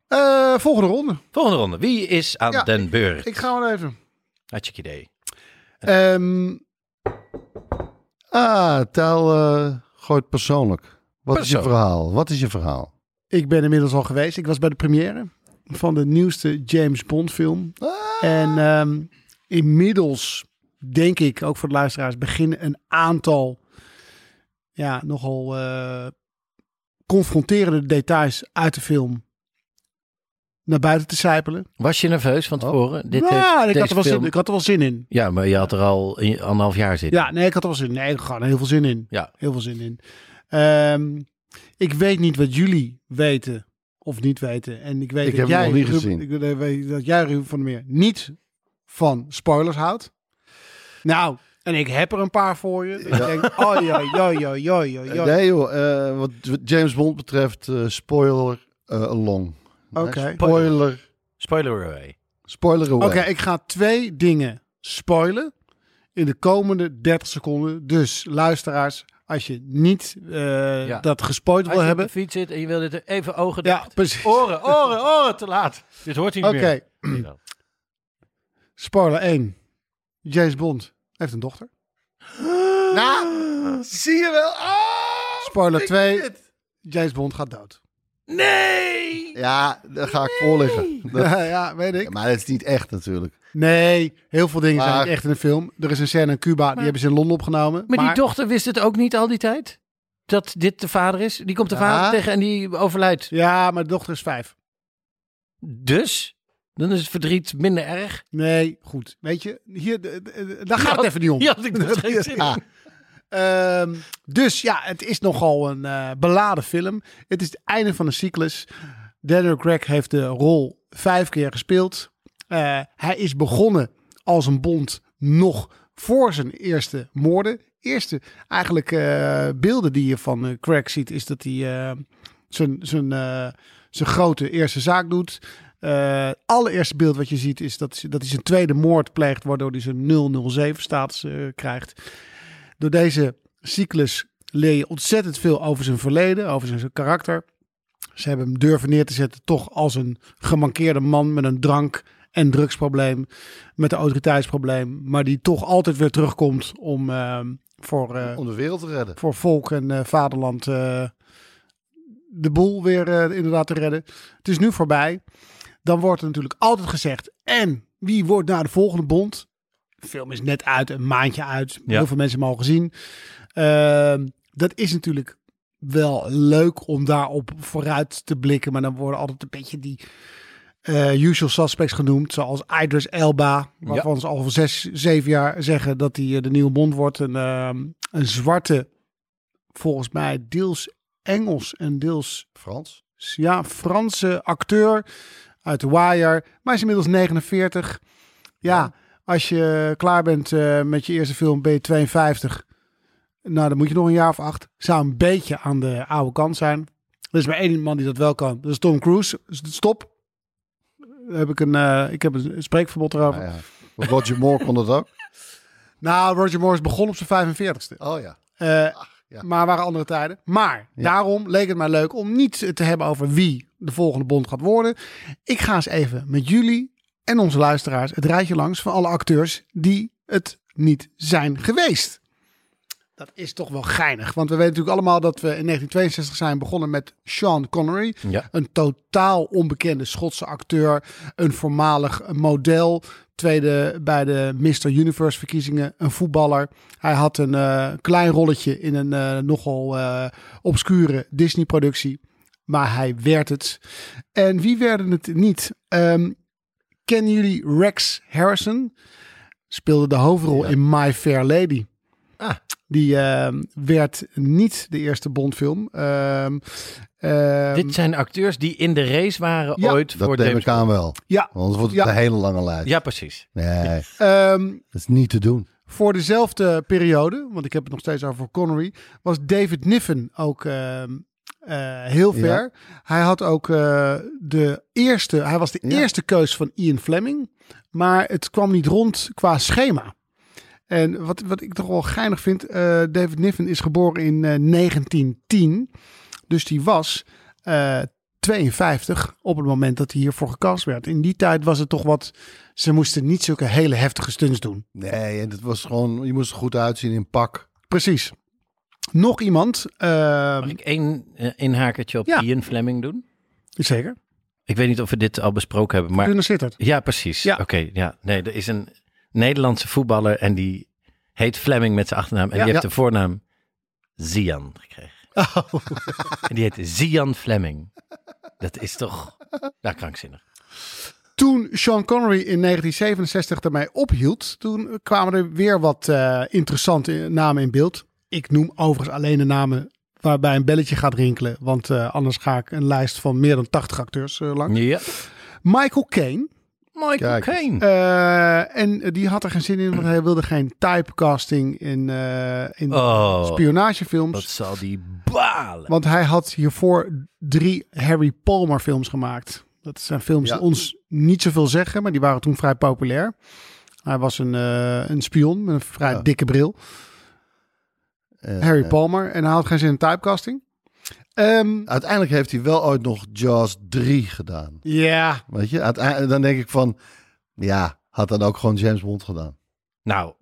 Speaker 3: Eh, volgende ronde.
Speaker 2: Volgende ronde. Wie is aan
Speaker 3: Ja,
Speaker 2: den beurt?
Speaker 3: Ik ga wel even.
Speaker 2: Had je het idee?
Speaker 3: Ehm,
Speaker 1: ah, taal eh, gooit persoonlijk. Wat is je
Speaker 2: Persoonlijk.
Speaker 1: verhaal? Wat is je verhaal?
Speaker 3: ik ben inmiddels al geweest. Ik was bij de première van de nieuwste James Bond film.
Speaker 1: Ah.
Speaker 3: En ehm, inmiddels, denk ik, ook voor de luisteraars, beginnen een aantal ja, nogal eh, confronterende details uit de film naar buiten te sijpelen.
Speaker 2: Was je nerveus van tevoren? Dit
Speaker 3: Oh. ja,
Speaker 2: heeft-
Speaker 3: ik, had
Speaker 2: deze
Speaker 3: er wel
Speaker 2: film-
Speaker 3: zin, ik had er wel zin in.
Speaker 2: Ja, maar je had er al een- anderhalf jaar zitten.
Speaker 3: Ja, nee, ik had er wel zin in. Nee, gewoon heel veel zin in.
Speaker 2: Ja.
Speaker 3: Heel veel zin in. Ehm, ik weet niet wat jullie weten of niet weten. En ik weet
Speaker 1: Ik
Speaker 3: dat
Speaker 1: heb hem
Speaker 3: jij,
Speaker 1: nog niet
Speaker 3: Ruben-
Speaker 1: gezien.
Speaker 3: Ik eh, weet dat jij, Ruben van der Meer, niet van spoilers houdt. Nou, en ik heb er een paar voor je. Ik denk, oh, joi, joi, joi, joi, joi, joi.
Speaker 1: Nee joh, eh, wat wat James Bond betreft, eh, spoiler eh, along.
Speaker 3: Oké.
Speaker 1: Eh, Spoiler,
Speaker 2: Spoiler away.
Speaker 1: spoiler away.
Speaker 3: Oké, ik ga twee dingen spoilen in de komende 30 seconden. Dus luisteraars, als je niet eh,
Speaker 2: Ja.
Speaker 3: dat gespoild
Speaker 2: Als je
Speaker 3: wil
Speaker 2: op
Speaker 3: hebben,
Speaker 2: de fiets zit en je wil dit er even ogen
Speaker 3: Ja,
Speaker 2: dicht.
Speaker 3: precies.
Speaker 2: Oren, oren, oren, te laat. Dit hoort hij niet
Speaker 3: Oké.
Speaker 2: meer. Oké.
Speaker 3: Spoiler 1. James Bond heeft een dochter.
Speaker 2: Nou,
Speaker 1: Zie je wel?
Speaker 2: Oh,
Speaker 3: Spoiler 2. James Bond gaat dood.
Speaker 2: Nee!
Speaker 1: Ja, daar ga ik voor liggen. Dat-
Speaker 3: Ja, ja, weet ik.
Speaker 1: maar dat is niet echt natuurlijk.
Speaker 3: Nee, heel veel dingen zijn
Speaker 1: Maar-
Speaker 3: niet echt in de film. Er is een scène in Cuba, die hebben ze in Londen opgenomen.
Speaker 2: Maar, die dochter wist het ook niet al die tijd? Dat dit de vader is? Die komt de vader tegen en die overlijdt.
Speaker 3: Ja, maar de dochter is vijf.
Speaker 2: Dus? Dan is het verdriet minder erg.
Speaker 3: Nee, goed. Weet je, hier, de- de- de- daar gaat
Speaker 2: Nou,
Speaker 3: het even niet om.
Speaker 2: hier had ik dus geen zin in.
Speaker 3: Ja. Ehm, dus ja, het is nogal een eh, beladen film. Het is het einde van een cyclus. Daniel Craig heeft de rol vijf keer gespeeld. Eh, hij is begonnen als een bond nog voor zijn eerste moorden. Eerste eigenlijk eh, beelden die je van eh, Craig ziet, is dat hij eh, zijn, zijn, eh, zijn grote eerste zaak doet. Eh, Het allereerste beeld wat je ziet is dat, dat hij zijn tweede moord pleegt, waardoor hij zijn 007-status eh, krijgt. Door deze cyclus leer je ontzettend veel over zijn verleden, over zijn, zijn karakter. Ze hebben hem durven neer te zetten toch als een gemankeerde man met een drank- en drugsprobleem, met een autoriteitsprobleem, maar die toch altijd weer terugkomt om ehm, voor, eh,
Speaker 1: Om de wereld te redden.
Speaker 3: voor volk en eh, vaderland eh, de boel weer eh, inderdaad te redden. Het is nu voorbij. Dan wordt er natuurlijk altijd gezegd, en wie wordt naar de volgende bond? De film is net uit, een maandje uit.
Speaker 2: Ja.
Speaker 3: Heel veel mensen hebben hem al gezien. Ehm, dat is natuurlijk wel leuk om daarop vooruit te blikken. Maar dan worden altijd een beetje die eh, usual suspects genoemd. Zoals Idris Elba. Waarvan ze al van zes, zeven jaar zeggen dat hij eh, de nieuwe Bond wordt. Een, ehm, een zwarte, volgens mij deels Engels en deels
Speaker 1: Frans?
Speaker 3: ja, Franse acteur uit The Wire. Maar hij is inmiddels 49. Ja, als je klaar bent eh, met je eerste film, ben je 52. Nou, dan moet je nog een jaar of acht. Zou een beetje aan de oude kant zijn. Er is maar één man die dat wel kan. Dat is Tom Cruise. Dus Stop. Heb ik, een, eh, ik heb een spreekverbod erover.
Speaker 1: Nou ja. Roger Moore kon dat ook.
Speaker 3: Nou, Roger Morris begon op zijn 45ste.
Speaker 1: Oh ja.
Speaker 3: Eh,
Speaker 1: ja.
Speaker 3: Maar waren andere tijden. Maar daarom leek het mij leuk om niet te hebben over wie de volgende bond gaat worden. Ik ga eens even met jullie en onze luisteraars het rijtje langs van alle acteurs die het niet zijn geweest. Dat is toch wel geinig. Want we weten natuurlijk allemaal dat we in 1962 zijn begonnen met Sean Connery.
Speaker 2: Ja.
Speaker 3: Een totaal onbekende Schotse acteur. Een voormalig model. Tweede bij de Mr. Universe verkiezingen. Een voetballer. Hij had een eh, klein rolletje in een eh, nogal eh, obscure Disney productie. Maar hij werd het. En wie werden het niet? Ehm, kennen jullie Rex Harrison? Speelde de hoofdrol in My Fair Lady. Die eh, werd niet de eerste Bondfilm. Ehm, ehm,
Speaker 2: Dit zijn acteurs die in de race waren
Speaker 3: Ja,
Speaker 2: ooit voor
Speaker 1: Dat neem
Speaker 2: James
Speaker 1: ik aan
Speaker 2: Bond.
Speaker 1: wel.
Speaker 3: ja,
Speaker 1: Want Anders wordt het
Speaker 3: Ja.
Speaker 1: een hele lange lijst.
Speaker 2: Ja, precies.
Speaker 1: Nee, dat
Speaker 3: ehm,
Speaker 1: is niet te doen.
Speaker 3: voor dezelfde periode, want ik heb het nog steeds over Connery, was David Niven ook ehm, eh, heel ver. Hij had ook eh, de eerste, hij was de eerste keus van Ian Fleming, maar het kwam niet rond qua schema. En wat, wat ik toch wel geinig vind, eh, David Niven is geboren in eh, 1910, dus die was eh, 52 op het moment dat hij hiervoor gecast werd. In die tijd was het toch wat, ze moesten niet zulke hele heftige stunts doen.
Speaker 1: Nee, en dat was gewoon, je moest er goed uitzien in pak.
Speaker 3: Precies. Nog iemand. eh,
Speaker 2: Mag ik één eh, inhakertje op
Speaker 3: Ja.
Speaker 2: Ian Fleming doen?
Speaker 3: zeker.
Speaker 2: Ik weet niet of we dit al besproken hebben, maar...
Speaker 3: Gunnar Sittert.
Speaker 2: Ja, precies.
Speaker 3: Ja.
Speaker 2: Oké, ja. Nee, er is een Nederlandse voetballer en die heet Fleming met zijn achternaam. En die heeft
Speaker 1: Ja.
Speaker 2: de voornaam Zian gekregen.
Speaker 3: Oh.
Speaker 2: En die heet Zian Fleming. Dat is toch... Nou, krankzinnig.
Speaker 3: Toen Sean Connery in 1967 ermee ophield, toen kwamen er weer wat eh, interessante namen in beeld. Ik noem overigens alleen de namen waarbij een belletje gaat rinkelen, want eh, anders ga ik een lijst van meer dan 80 acteurs eh, lang.
Speaker 2: Ja.
Speaker 3: Michael Caine.
Speaker 2: Michael
Speaker 1: Kijk eens.
Speaker 2: Caine.
Speaker 3: eh, en die had er geen zin in, want hij wilde geen typecasting in, eh, in
Speaker 2: Oh,
Speaker 3: spionagefilms.
Speaker 2: wat zal die balen.
Speaker 3: Want hij had hiervoor drie Harry Palmer films gemaakt. Dat zijn films
Speaker 1: Ja.
Speaker 3: die ons niet zoveel zeggen, maar die waren toen vrij populair. Hij was een, eh, een spion met een vrij
Speaker 1: Ja.
Speaker 3: dikke bril.
Speaker 1: Eh,
Speaker 3: Harry
Speaker 1: eh,
Speaker 3: Palmer. En hij had geen zin in typecasting. Ehm,
Speaker 1: Uiteindelijk heeft hij wel ooit nog Jaws 3 gedaan.
Speaker 3: ja,
Speaker 1: Weet je, Uiteindelijk- dan denk ik van, ja, had dan ook gewoon James Bond gedaan.
Speaker 2: Nou,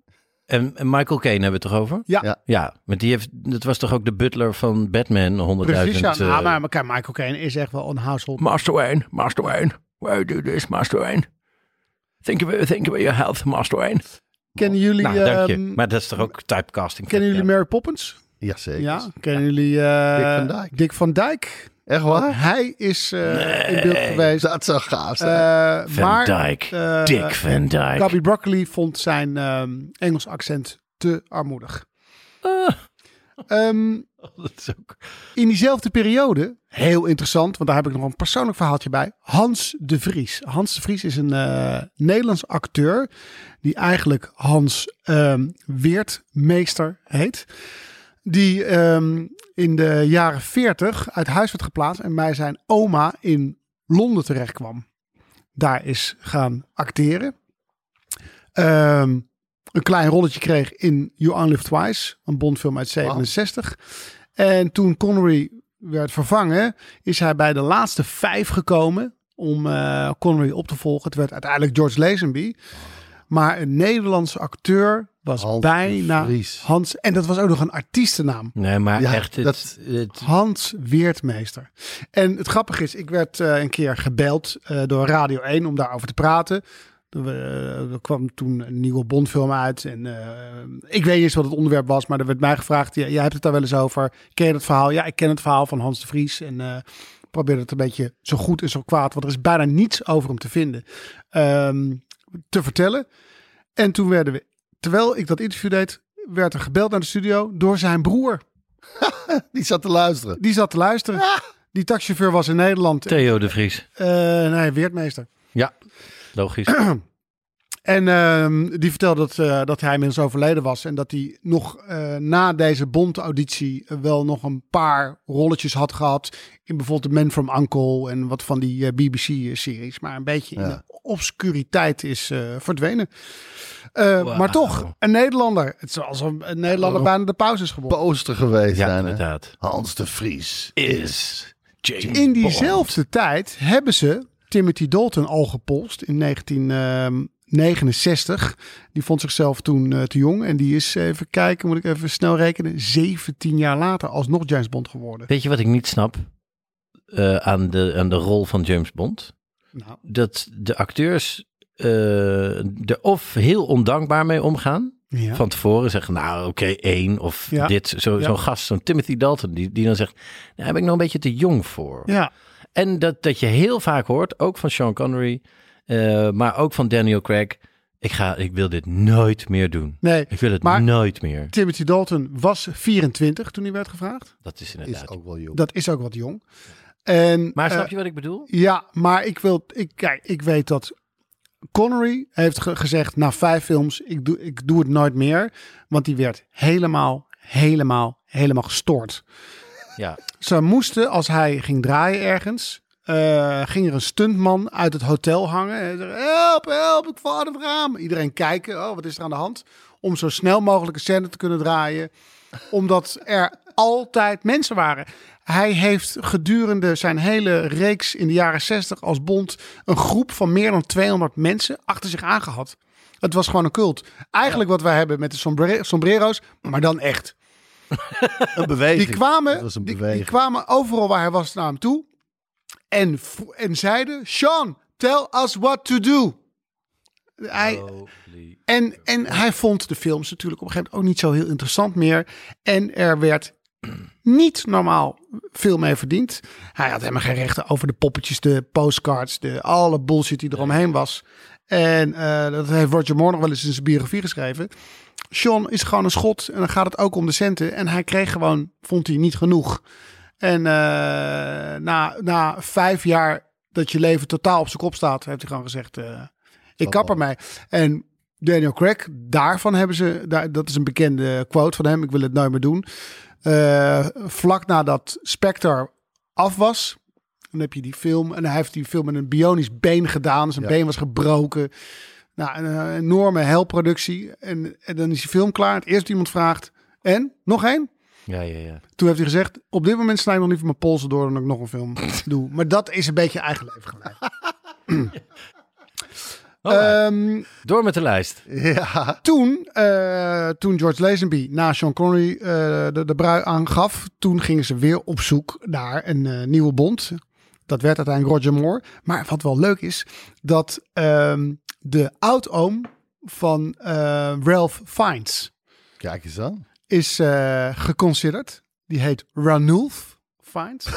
Speaker 2: en, en Michael Caine hebben we het toch over?
Speaker 3: ja,
Speaker 1: Ja.
Speaker 2: Ja, want die heeft, dat was toch ook de butler van Batman, 100.000...
Speaker 3: precies. Ja.
Speaker 2: eh,
Speaker 3: Nou, maar kijk, Michael Caine is echt wel een household.
Speaker 2: Master Wayne, Master Wayne, why do this, Master Wayne? Think about, think about your health, Master Wayne.
Speaker 3: kennen jullie,
Speaker 2: Nou, dank je.
Speaker 3: ehm,
Speaker 2: Maar dat is toch ook typecasting?
Speaker 3: kennen jullie Mary Poppins?
Speaker 1: Jazeker.
Speaker 3: Ja. Kennen jullie eh,
Speaker 1: Dick van Dyke.
Speaker 3: Dick van Dijk?
Speaker 1: Echt waar?
Speaker 3: Hij is eh, in beeld geweest.
Speaker 1: Dat zou gaaf zijn.
Speaker 3: Eh,
Speaker 2: Van
Speaker 3: maar,
Speaker 2: Dijk.
Speaker 3: eh,
Speaker 2: Dick Van Dyke.
Speaker 3: Gabby Broccoli vond zijn ehm, Engels accent te armoedig.
Speaker 2: Eh.
Speaker 3: Ehm,
Speaker 2: Dat is ook...
Speaker 3: in diezelfde periode, heel interessant, want daar heb ik nog een persoonlijk verhaaltje bij. Hans de Vries. Hans de Vries is een eh, Nederlands acteur die eigenlijk Hans ehm, Weertmeester heet. Die ehm, in de jaren 40 uit huis werd geplaatst en bij zijn oma in Londen terecht kwam. Daar is gaan acteren. Ehm, een klein rolletje kreeg in You Only Live Twice, een Bondfilm uit 67. En toen Connery werd vervangen, is hij bij de laatste vijf gekomen om eh, Connery op te volgen. Het werd uiteindelijk George Lazenby. Maar een Nederlandse acteur was
Speaker 1: Hans de
Speaker 3: bijna
Speaker 1: Vries.
Speaker 3: Hans. En dat was ook nog een artiestennaam.
Speaker 2: Nee, maar
Speaker 1: Ja,
Speaker 2: echt, het,
Speaker 1: dat-
Speaker 2: het-
Speaker 3: Hans Weertmeester. En het grappige is, ik werd eh, een keer gebeld eh, door Radio 1 om daarover te praten. Er, eh, er kwam toen een nieuwe Bondfilm uit. En eh, ik weet niet eens wat het onderwerp was, maar er werd mij gevraagd: "Ja, jij hebt het daar wel eens over. Ken je dat verhaal? Ja, ik ken het verhaal van Hans de Vries. En eh, ik probeer het een beetje zo goed en zo kwaad, want er is bijna niets over hem te vinden, ehm, te vertellen. En toen werden we, terwijl ik dat interview deed, werd er gebeld naar de studio door zijn broer.
Speaker 1: Die zat te luisteren.
Speaker 3: Die zat te luisteren. Die taxichauffeur was in Nederland. eh
Speaker 2: Theo de Vries.
Speaker 3: nee, Weertmeester.
Speaker 2: Ja, logisch.
Speaker 3: En ehm, die vertelde dat, eh, dat hij inmiddels overleden was. En dat hij nog eh, na deze Bond-auditie wel nog een paar rolletjes had gehad. In bijvoorbeeld The Man from Uncle en wat van die eh, BBC-series. Maar een beetje in de obscuriteit is eh, verdwenen. Eh,
Speaker 2: Wauw.
Speaker 3: Maar toch, een Nederlander. Het is alsof een Nederlander bijna de pauze is geboren.
Speaker 1: Poster geweest
Speaker 2: ja,
Speaker 1: zijn, hè?
Speaker 2: inderdaad.
Speaker 1: Hans de Vries.
Speaker 2: Is James
Speaker 3: In
Speaker 2: Bond.
Speaker 3: diezelfde tijd hebben ze Timothy Dalton al gepolst in 1969. Die vond zichzelf toen eh, te jong. En die is, even kijken, moet ik even snel rekenen, 17 jaar later alsnog James Bond geworden.
Speaker 2: Weet je wat ik niet snap eh, aan, de, aan de rol van James Bond?
Speaker 3: Nou.
Speaker 2: Dat de acteurs eh, er of heel ondankbaar mee omgaan.
Speaker 3: Ja.
Speaker 2: Van tevoren zeggen, nou oké, één of
Speaker 3: Ja.
Speaker 2: dit. Zo,
Speaker 3: Ja.
Speaker 2: Zo'n gast, zo'n Timothy Dalton, die, die dan zegt, nou, daar heb ik nog een beetje te jong voor.
Speaker 3: ja.
Speaker 2: En dat, dat je heel vaak hoort, ook van Sean Connery, eh, maar ook van Daniel Craig. Ik, ga, ik wil dit nooit meer doen.
Speaker 3: Nee,
Speaker 2: Ik wil het
Speaker 3: maar-
Speaker 2: nooit meer.
Speaker 3: Timothy Dalton was 24 toen hij werd gevraagd.
Speaker 2: Dat is
Speaker 1: Is
Speaker 2: inderdaad.
Speaker 1: ook wel jong.
Speaker 3: Dat is ook wat jong. En,
Speaker 2: Maar
Speaker 3: eh,
Speaker 2: snap je wat ik bedoel?
Speaker 3: Ja, maar ik wil. Ik, kijk, ik weet dat. Connery heeft ge- gezegd na vijf films: ik doe, ik doe het nooit meer. Want die werd helemaal, helemaal, helemaal gestoord.
Speaker 2: Ja.
Speaker 3: Ze moesten, als hij ging draaien ergens. eh, ging er een stuntman uit het hotel hangen. En zeggen, help, help, ik val uit het raam. Iedereen kijken, oh, wat is er aan de hand? Om zo snel mogelijk een scène te kunnen draaien. Omdat er altijd mensen waren. Hij heeft gedurende zijn hele reeks in de jaren 60 als bond... een groep van meer dan 200 mensen achter zich aangehad. Het was gewoon een cult. Eigenlijk wat wij hebben met de sombre- sombrero's, maar dan echt.
Speaker 1: Een beweging.
Speaker 3: Die kwamen,
Speaker 1: Dat was een
Speaker 3: die, die
Speaker 1: beweging.
Speaker 3: kwamen overal waar hij was naar hem toe. En, v- en zeiden: Sean, tell us what to do. Hij, en, en hij vond de films natuurlijk op een gegeven moment ook niet zo heel interessant meer. En er werd niet normaal veel mee verdiend. Hij had helemaal geen rechten over de poppetjes, de postcards, de alle bullshit die er omheen was. En eh, dat heeft Roger Moore nog wel eens in zijn biografie geschreven. Sean is gewoon een schot en dan gaat het ook om de centen. En hij kreeg gewoon, vond hij niet genoeg. En eh, na, na vijf jaar dat je leven totaal op zijn kop staat, heeft hij gewoon gezegd, eh, ik kap ermee. En Daniel Craig, daarvan hebben ze, daar, dat is een bekende quote van hem, ik wil het nooit meer doen. Eh, vlak nadat Spectre af was, dan heb je die film. En hij heeft die film met een bionisch been gedaan. Zijn been was gebroken. Nou, een, eh, enorme helproductie. En, en dan is die film klaar. Het eerste iemand vraagt, en? Nog één?
Speaker 2: Ja, ja, ja.
Speaker 3: Toen heeft hij gezegd, op dit moment snij ik nog liever mijn polsen door dan dat ik nog een film doe. Maar dat is een beetje eigen leven gelijk.
Speaker 2: Alright.
Speaker 3: Ehm,
Speaker 2: Door met de lijst.
Speaker 1: Ja,
Speaker 3: toen, eh, toen George Lazenby na Sean Connery eh, de, de brui aangaf, toen gingen ze weer op zoek naar een eh, nieuwe bond. Dat werd uiteindelijk Roger Moore. Maar wat wel leuk is, dat ehm, de oudoom van eh, Ralph Fiennes
Speaker 1: kijk eens aan.
Speaker 3: is eh, geconsiderd. Die heet Ranulf Fiennes.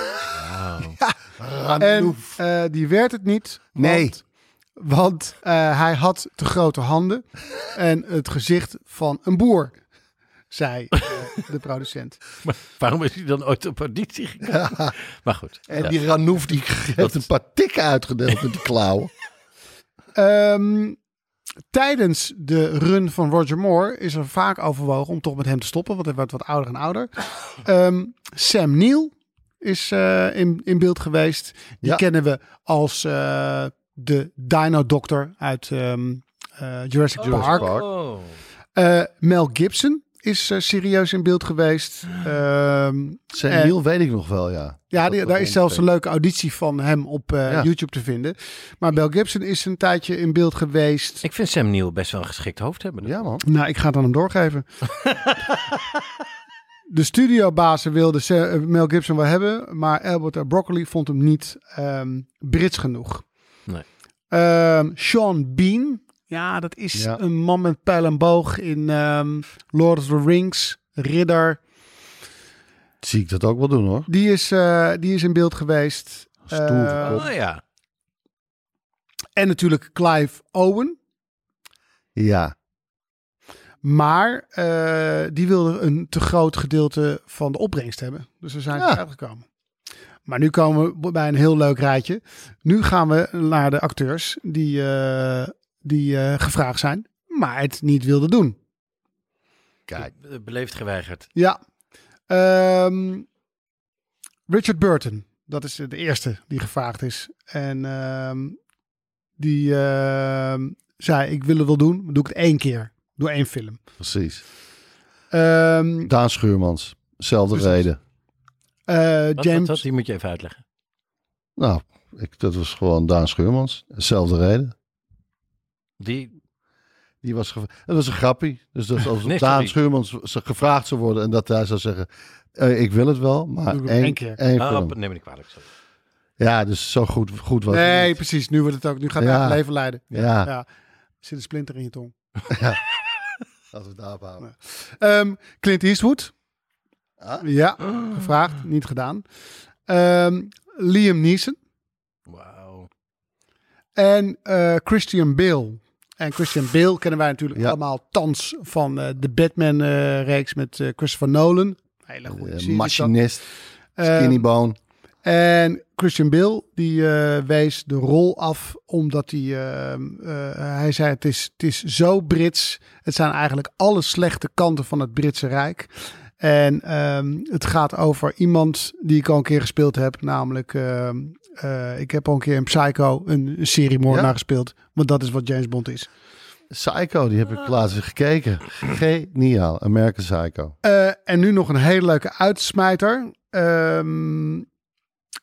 Speaker 3: En eh, die werd het niet.
Speaker 1: Nee.
Speaker 3: Want, want eh, hij had te grote handen en het gezicht van een boer, zei eh, de producent.
Speaker 2: Maar waarom is hij dan ooit op auditie gegaan? Maar goed.
Speaker 1: En
Speaker 2: ja.
Speaker 1: die Ranouf die heeft een paar tikken uitgedeeld met de klauwen.
Speaker 3: Ehm, tijdens de run van Roger Moore is er vaak overwogen om toch met hem te stoppen, want hij werd wat ouder en ouder. Ehm, Sam Neill is eh, in, in beeld geweest. Die
Speaker 1: Ja.
Speaker 3: kennen we als eh, de Dino Doctor uit ehm, eh, Jurassic, Park.
Speaker 2: Oh.
Speaker 3: Eh, Mel Gibson is eh, serieus in beeld geweest. Ehm,
Speaker 1: Zijn
Speaker 3: Eh,
Speaker 1: Neil weet ik nog wel, ja.
Speaker 3: ja,
Speaker 1: Dat
Speaker 3: die-
Speaker 1: dat
Speaker 3: daar is zelfs een
Speaker 1: ontbreekt.
Speaker 3: leuke auditie van hem op eh,
Speaker 1: Ja.
Speaker 3: YouTube te vinden. Maar Mel Gibson is een tijdje in beeld geweest.
Speaker 2: Ik vind Sam Neill best wel een geschikt hoofd hebben.
Speaker 1: Ja, man.
Speaker 3: Nou, ik ga het aan hem doorgeven. De studiobazen wilden Sa- eh, Mel Gibson wel hebben, maar Albert Broccoli vond hem niet ehm, Brits genoeg.
Speaker 2: Nee.
Speaker 3: Ehm, Sean Bean, ja, dat is
Speaker 1: Ja.
Speaker 3: een man met pijl en boog in ehm, Lord of the Rings, Ridder.
Speaker 1: Zie ik dat ook wel doen, hoor.
Speaker 3: Die is, eh, die is in beeld geweest.
Speaker 1: Stoere
Speaker 3: Eh,
Speaker 1: kop.
Speaker 2: Oh ja.
Speaker 3: en natuurlijk Clive Owen.
Speaker 1: Ja.
Speaker 3: Maar eh, die wilde een te groot gedeelte van de opbrengst hebben. Dus we zijn
Speaker 1: Ja.
Speaker 3: eruit gekomen. Maar nu komen we bij een heel leuk rijtje. Nu gaan we naar de acteurs die, eh, die eh, gevraagd zijn, maar het niet wilden doen.
Speaker 1: Kijk.
Speaker 2: Be- eh, Beleefd geweigerd.
Speaker 3: Ja. Ehm, Richard Burton, dat is de eerste die gevraagd is. En ehm, die ehm, zei, ik wil het wel doen, maar doe ik het één keer. Doe één film.
Speaker 1: Precies.
Speaker 3: Ehm,
Speaker 1: Daan Schuurmans. Zelfde
Speaker 3: Precies.
Speaker 1: reden.
Speaker 3: eh,
Speaker 2: Wat,
Speaker 3: James,
Speaker 2: wat, wat? Die moet je even uitleggen.
Speaker 1: Nou, ik, dat was gewoon Daan Schuurmans. Zelfde reden.
Speaker 2: Die,
Speaker 1: Die was gevra- dat was een grappie. Dus dat als
Speaker 2: Nee,
Speaker 1: Daan
Speaker 2: sorry.
Speaker 1: Schuurmans z- gevraagd zou worden en dat hij zou zeggen... eh, ik wil het wel, maar
Speaker 3: Doe ik
Speaker 1: één,
Speaker 3: hem één
Speaker 1: één
Speaker 3: keer.
Speaker 1: keer.
Speaker 2: Ah, op- neem me niet kwalijk. sorry.
Speaker 1: Ja, dus zo goed, goed was het
Speaker 3: Nee,
Speaker 1: niet.
Speaker 3: precies. Nu wordt het ook. Nu gaat
Speaker 1: Ja.
Speaker 3: het eigen leven leiden.
Speaker 1: Ja.
Speaker 3: ja. Er zit een splinter in je tong.
Speaker 1: Laten we het daarop houden.
Speaker 3: Ehm, Clint Eastwood.
Speaker 1: Ah.
Speaker 3: Ja, gevraagd. Niet gedaan. Ehm, Liam Neeson.
Speaker 2: Wauw.
Speaker 3: En eh, Christian Bale. En Christian Bale kennen wij natuurlijk
Speaker 1: Ja.
Speaker 3: allemaal thans van eh, de Batman-reeks met eh, Christopher Nolan. Hele goede
Speaker 1: Eh,
Speaker 3: serie is dat.
Speaker 1: machinist,
Speaker 3: Eh,
Speaker 1: skinny bone.
Speaker 3: En Christian Bale, die eh, wees de rol af omdat hij, ehm, eh, hij zei het is, het is zo Brits. Het zijn eigenlijk alle slechte kanten van het Britse Rijk. En ehm, het gaat over iemand die ik al een keer gespeeld heb. Namelijk, ehm, eh, ik heb al een keer in Psycho een, een seriemoordenaar
Speaker 1: Ja?
Speaker 3: gespeeld. Want dat is wat James Bond is.
Speaker 1: Psycho, die heb ik laatst weer gekeken. Geniaal. American Psycho.
Speaker 3: Eh, en nu nog een hele leuke uitsmijter. Ehm,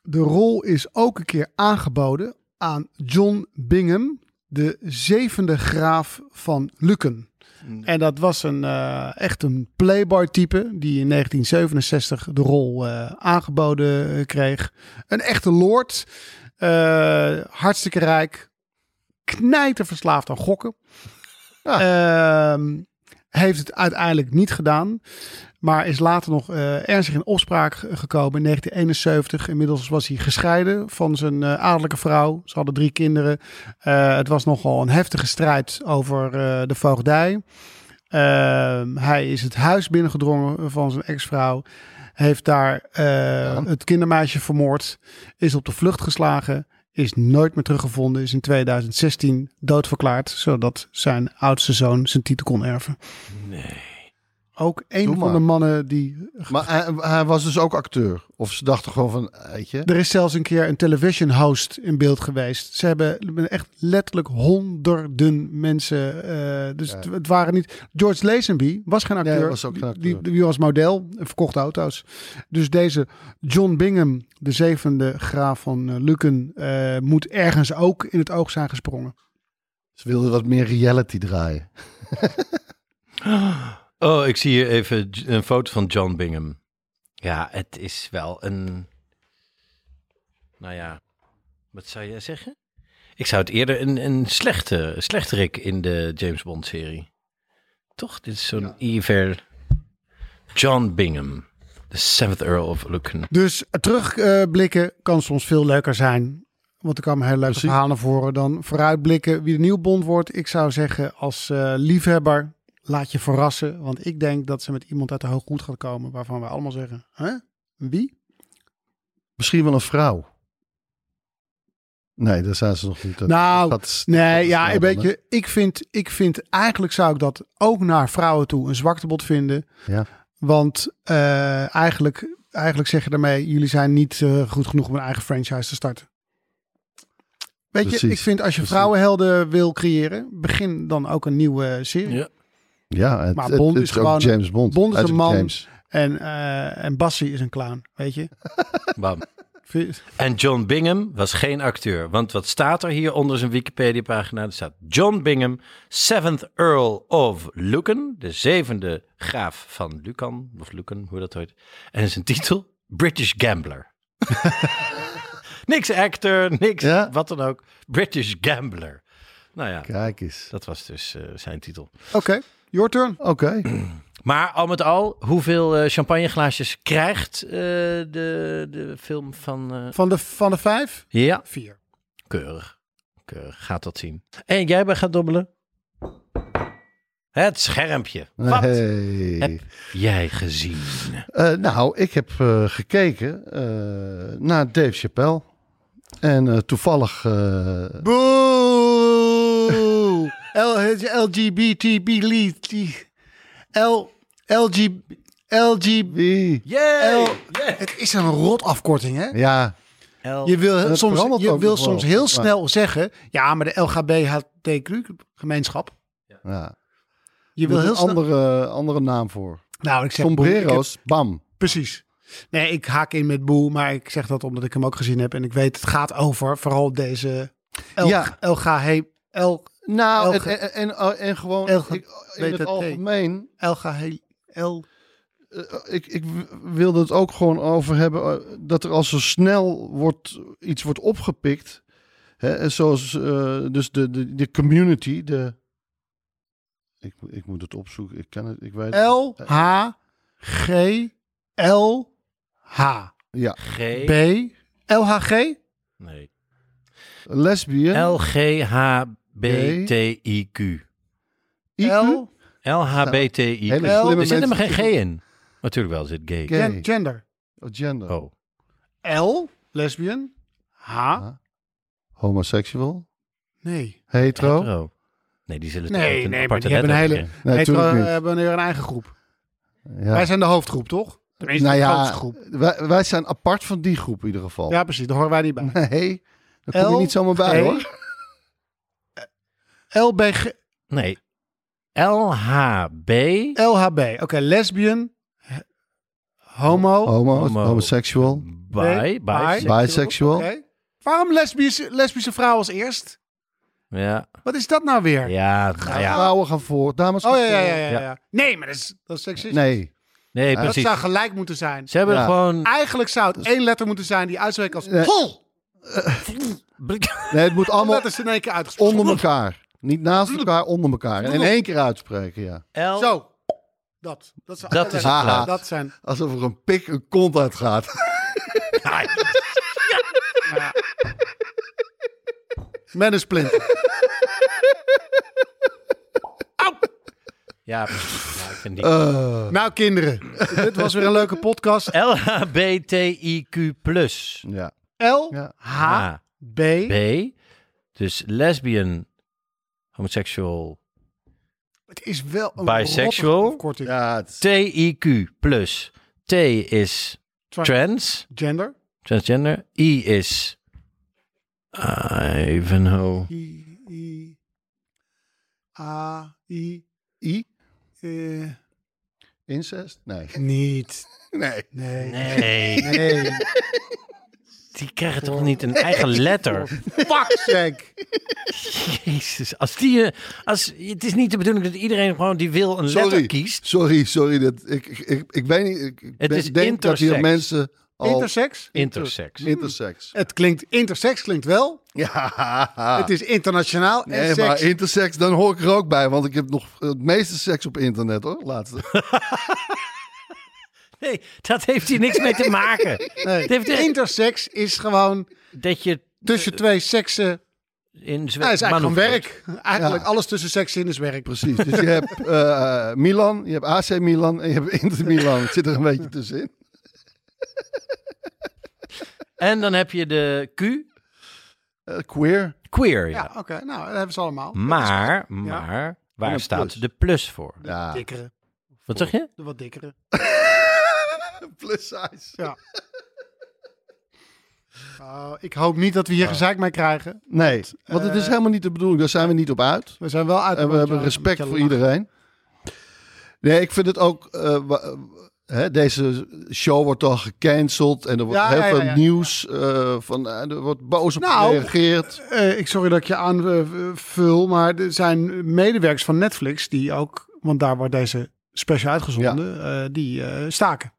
Speaker 3: de rol is ook een keer aangeboden aan John Bingham, de zevende graaf van Lucken. En dat was een, eh, echt een playboy-type die in 1967 de rol eh, aangeboden eh, kreeg. Een echte lord, eh, hartstikke rijk, knijterverslaafd aan gokken. Ehm, heeft het uiteindelijk niet gedaan. Maar is later nog eh, ernstig in opspraak ge- gekomen in 1971. Inmiddels was hij gescheiden van zijn eh, adellijke vrouw. Ze hadden drie kinderen. Eh, het was nogal een heftige strijd over eh, de voogdij. Ehm, hij is het huis binnengedrongen van zijn ex-vrouw. Heeft daar eh, het kindermeisje vermoord. Is op de vlucht geslagen. Is nooit meer teruggevonden. Is in 2016 doodverklaard. Zodat zijn oudste zoon zijn titel kon erven. Nee. Ook
Speaker 1: Doe
Speaker 3: een
Speaker 1: maar.
Speaker 3: van de mannen die
Speaker 1: Maar hij, hij was dus ook acteur. Of ze dachten gewoon van, weet je...
Speaker 3: Er is zelfs een keer een television host in beeld geweest. Ze hebben echt letterlijk honderden mensen. eh, dus het, het waren niet. George Lazenby was geen acteur.
Speaker 1: Nee, was ook geen acteur.
Speaker 3: Die, die was model en verkocht auto's. Dus deze John Bingham, de zevende graaf van eh, Lucken, eh, moet ergens ook in het oog zijn gesprongen.
Speaker 1: Ze wilden wat meer reality draaien.
Speaker 2: Oh, ik zie hier even j- een foto van John Bingham. Ja, het is wel een. Nou ja, wat zou jij zeggen? Ik zou het eerder een, een slechte, slechterik in de James Bond serie. Toch? Dit is zo'n Iver. John Bingham, the seventh Earl of Lucan.
Speaker 3: Dus terugblikken kan soms veel leuker zijn. Want er kwamen heel leuke verhalen naar voren. Dan vooruitblikken wie de nieuwe Bond wordt. Ik zou zeggen als eh, liefhebber, laat je verrassen. Want ik denk dat ze met iemand uit de hooggoed gaat komen. Waarvan wij allemaal zeggen, hè? Wie?
Speaker 1: Misschien wel een vrouw. Nee, daar zijn ze nog niet. Dat-
Speaker 3: Nou,
Speaker 1: dat is- dat
Speaker 3: Nee,
Speaker 1: is
Speaker 3: ja,
Speaker 1: wel
Speaker 3: een
Speaker 1: dan, hè?
Speaker 3: beetje. Ik vind, ik vind, eigenlijk zou ik dat ook naar vrouwen toe een zwaktebod vinden.
Speaker 1: Ja.
Speaker 3: Want eh, eigenlijk, eigenlijk zeg je daarmee, jullie zijn niet eh, goed genoeg om een eigen franchise te starten. Weet je,
Speaker 1: Precies,
Speaker 3: ik vind als je
Speaker 1: precies.
Speaker 3: vrouwenhelden wil creëren, begin dan ook een nieuwe serie.
Speaker 2: Ja.
Speaker 1: Ja, het,
Speaker 3: Maar
Speaker 1: het-
Speaker 3: Bond
Speaker 1: het
Speaker 3: is
Speaker 1: ook
Speaker 3: gewoon-
Speaker 1: James Bond.
Speaker 3: Bond is
Speaker 1: Uit
Speaker 3: een
Speaker 1: op
Speaker 3: man.
Speaker 1: James.
Speaker 3: En, eh en Bassie is een clown, weet je.
Speaker 2: Bam.
Speaker 3: Vind je-
Speaker 2: En John Bingham was geen acteur. Want wat staat er hier onder zijn Wikipedia-pagina? Er staat John Bingham, 7th Earl of Lucan. De zevende graaf van Lucan, of Lucan, hoe dat heet. En zijn titel, British Gambler. niks actor, niks
Speaker 1: Ja.
Speaker 2: wat dan ook. British Gambler. Nou ja,
Speaker 1: Kijk eens.
Speaker 2: dat was dus eh, zijn titel.
Speaker 3: Oké, your turn.
Speaker 1: Oké.
Speaker 2: Maar al met al, hoeveel eh, champagneglaasjes krijgt eh, de, de film van... eh,
Speaker 3: Van de, van de vijf,
Speaker 2: Ja,
Speaker 3: vier.
Speaker 2: Keurig. Keurig. Gaat dat zien. En jij bent gaan dobbelen? Het schermpje. Wat
Speaker 1: Hey.
Speaker 2: heb jij gezien?
Speaker 1: Eh, nou, ik heb eh, gekeken eh, naar Dave Chappelle. En eh, toevallig... eh,
Speaker 3: Boe! L- het is LGBT belief. L LG LG
Speaker 1: wie?
Speaker 2: Yay!
Speaker 3: L- Het is een rot afkorting hè?
Speaker 1: Ja,
Speaker 3: Je wil
Speaker 1: Het
Speaker 3: soms,
Speaker 1: verandert
Speaker 3: je
Speaker 1: ook
Speaker 3: wil
Speaker 1: nog wel,
Speaker 3: soms heel
Speaker 1: maar-
Speaker 3: snel zeggen ja, maar de LGBTQ gemeenschap.
Speaker 1: ja.
Speaker 3: Je wil heel
Speaker 1: een
Speaker 3: snel
Speaker 1: andere, andere naam voor.
Speaker 3: Nou, ik zeg boe, ik heb-
Speaker 1: Sombrero's, bam.
Speaker 3: Precies. Nee, ik haak in met Boe, maar ik zeg dat omdat ik hem ook gezien heb en ik weet het gaat over vooral deze L
Speaker 1: Ja.
Speaker 3: LGH L
Speaker 1: Nou, en,
Speaker 3: Elge-
Speaker 1: en, en, eh, en gewoon
Speaker 3: Elge-
Speaker 1: ik- in
Speaker 3: BTT.
Speaker 1: het algemeen...
Speaker 3: LGH L
Speaker 1: eh, ik, ik w- wilde het ook gewoon over hebben eh, dat er al zo snel wordt, iets wordt opgepikt. Hè, en zoals eh, dus de, de, de community, de... Ik, moet- ik moet het opzoeken, ik kan het, ik weet het. Eh,
Speaker 3: L H G L H
Speaker 1: Ja,
Speaker 2: G.
Speaker 3: B L H G
Speaker 2: Nee.
Speaker 1: lesbian,
Speaker 2: LGHB. LHBTIQ.
Speaker 1: IQ?
Speaker 2: LHBTIQ.
Speaker 1: Hele
Speaker 2: Er
Speaker 1: slimme
Speaker 2: zit helemaal geen
Speaker 1: mensen.
Speaker 2: G in. Natuurlijk wel, er zit gay.
Speaker 1: Gay.
Speaker 3: Gen- Gender.
Speaker 1: Oh, Gender.
Speaker 2: Oh.
Speaker 3: L, lesbian. H,
Speaker 1: Homoseksueel.
Speaker 3: nee.
Speaker 1: Hetero.
Speaker 2: Hetero. Dus Nee, die zullen
Speaker 3: Nee,
Speaker 2: echt een
Speaker 3: nee, maar
Speaker 2: aparte
Speaker 3: die hebben een
Speaker 2: letter
Speaker 3: hele-
Speaker 2: hebben.
Speaker 1: Nee,
Speaker 3: Hetero
Speaker 1: natuurlijk niet.
Speaker 3: hebben weer een eigen groep.
Speaker 1: Ja.
Speaker 3: Wij zijn de hoofdgroep, toch? Tenminste,
Speaker 1: nou
Speaker 3: de
Speaker 1: ja, oh.
Speaker 3: grootste groep.
Speaker 1: wij, wij zijn apart van die groep in ieder geval.
Speaker 3: Ja, precies. Daar horen wij niet bij.
Speaker 1: Nee, daar kom je
Speaker 3: L,
Speaker 1: niet zomaar bij
Speaker 3: G,
Speaker 1: hoor.
Speaker 3: LBG,
Speaker 2: Nee. LHB.
Speaker 3: LHB. Oké, lesbian, he- homo.
Speaker 1: Homo,
Speaker 2: Homo.
Speaker 1: homoseksueel,
Speaker 2: Bi. Bi.
Speaker 1: bisexual.
Speaker 3: Oké. Waarom lesbische, lesbische vrouw als eerst?
Speaker 2: Ja.
Speaker 3: Wat is dat nou weer?
Speaker 2: Ja, nou ja.
Speaker 1: Vrouwen gaan voor, dames
Speaker 3: Oh
Speaker 1: gaan
Speaker 3: ja, ja,
Speaker 1: voor.
Speaker 3: ja, ja, ja. Nee, maar dat is, dat is seksistisch.
Speaker 1: Nee,
Speaker 2: Nee,
Speaker 3: dat
Speaker 2: precies.
Speaker 3: zou gelijk moeten zijn.
Speaker 2: Ze hebben
Speaker 1: Ja.
Speaker 2: gewoon...
Speaker 3: Eigenlijk zou het één letter moeten zijn die uitspreekt als
Speaker 1: Nee.
Speaker 3: hol.
Speaker 1: nee, het moet
Speaker 3: Allemaal
Speaker 1: allemaal
Speaker 3: letters in één keer uitgesproken.
Speaker 1: onder elkaar. Niet naast elkaar, onder elkaar. En in één keer uitspreken, ja.
Speaker 2: L.
Speaker 3: Zo. Dat. Dat, zijn
Speaker 2: Dat is het
Speaker 3: letters.
Speaker 1: geluid.
Speaker 3: Dat zijn.
Speaker 1: Alsof er een pik een kont uit gaat.
Speaker 3: Met een splinter.
Speaker 2: Ja, precies. Ja, ik vind die...
Speaker 3: nou, kinderen. dit was weer een leuke podcast.
Speaker 2: LHBTIQ+.
Speaker 1: Ja.
Speaker 3: L,
Speaker 1: Ja.
Speaker 3: H,
Speaker 2: A.
Speaker 3: B,
Speaker 2: B. Dus lesbian, homoseksueel,
Speaker 3: Het is wel een
Speaker 2: Bisexual.
Speaker 3: rotte afkorting.
Speaker 1: Ja, het is-
Speaker 2: TIQ+. plus. T is
Speaker 3: Tra-
Speaker 2: trans,
Speaker 3: Gender.
Speaker 2: transgender. I is Ivanhoe.
Speaker 3: I, I, A, I,
Speaker 1: I?
Speaker 3: eh,
Speaker 1: Incest? Nee.
Speaker 3: Niet.
Speaker 1: Nee.
Speaker 3: Nee.
Speaker 2: Nee,
Speaker 3: Nee.
Speaker 2: die krijgen toch niet een eigen letter?
Speaker 3: Fuck, zeg.
Speaker 2: Jezus, als die... eh, Als, het is niet de bedoeling dat iedereen gewoon die wil een letter
Speaker 1: Sorry.
Speaker 2: kiest.
Speaker 1: Sorry, sorry. Dat, ik, ik, ik, ik weet niet. Ik ik
Speaker 2: Het
Speaker 1: ben-
Speaker 2: is
Speaker 1: denk dat hier
Speaker 2: intersex.
Speaker 1: mensen al...
Speaker 3: Intersex?
Speaker 2: Intersex.
Speaker 1: Intersex.
Speaker 3: Het klinkt, intersex klinkt wel.
Speaker 2: Ah.
Speaker 1: Ja.
Speaker 3: Het is internationaal. en
Speaker 1: Nee,
Speaker 3: seks.
Speaker 1: maar intersex, dan hoor ik er ook bij. Want ik heb nog het meeste seks op internet, hoor. Laatste.
Speaker 2: Nee, dat heeft hier niks mee te maken.
Speaker 3: Nee.
Speaker 2: Het heeft Eh, er-
Speaker 3: Intersex is gewoon
Speaker 2: Dat je
Speaker 3: tussen twee seksen.
Speaker 2: in Zwe-
Speaker 3: Ja, is eigenlijk gewoon
Speaker 2: manoeuvreert.
Speaker 3: werk. Eigenlijk
Speaker 1: Ja.
Speaker 3: alles tussen seksen in is werk.
Speaker 1: Precies. Dus je hebt eh, Milan, je hebt AC Milan en je hebt Inter Milan. Het zit er een beetje tussenin.
Speaker 2: En dan heb je de Q,
Speaker 1: Eh, queer.
Speaker 2: queer. Ja.
Speaker 3: Ja, oké. Nou, dat hebben ze allemaal.
Speaker 2: Maar, maar, waar
Speaker 1: een
Speaker 2: staat
Speaker 1: plus.
Speaker 2: de plus voor?
Speaker 1: Ja.
Speaker 3: Dikkere.
Speaker 2: Wat zeg je?
Speaker 3: De wat dikkere.
Speaker 1: Plus size.
Speaker 3: Ja. Oh, ik hoop niet dat we hier gezeik mee krijgen.
Speaker 1: Nee, want het is helemaal niet de bedoeling. Daar zijn we niet op uit.
Speaker 3: We zijn wel uit. eh,
Speaker 1: En we hebben
Speaker 3: met
Speaker 1: respect
Speaker 3: je
Speaker 1: voor
Speaker 3: lachen.
Speaker 1: iedereen. Nee, ik vind het ook. eh, wa- eh, hè, deze show wordt al gecanceld en er wordt
Speaker 3: Ja,
Speaker 1: heel
Speaker 3: ja, ja,
Speaker 1: veel
Speaker 3: ja.
Speaker 1: nieuws eh, van. eh, er wordt boos op
Speaker 3: Nou,
Speaker 1: gereageerd.
Speaker 3: Eh, ik sorry dat ik je aanvul, maar er zijn medewerkers van Netflix die ook, want daar wordt deze special uitgezonden, eh, die eh, staken.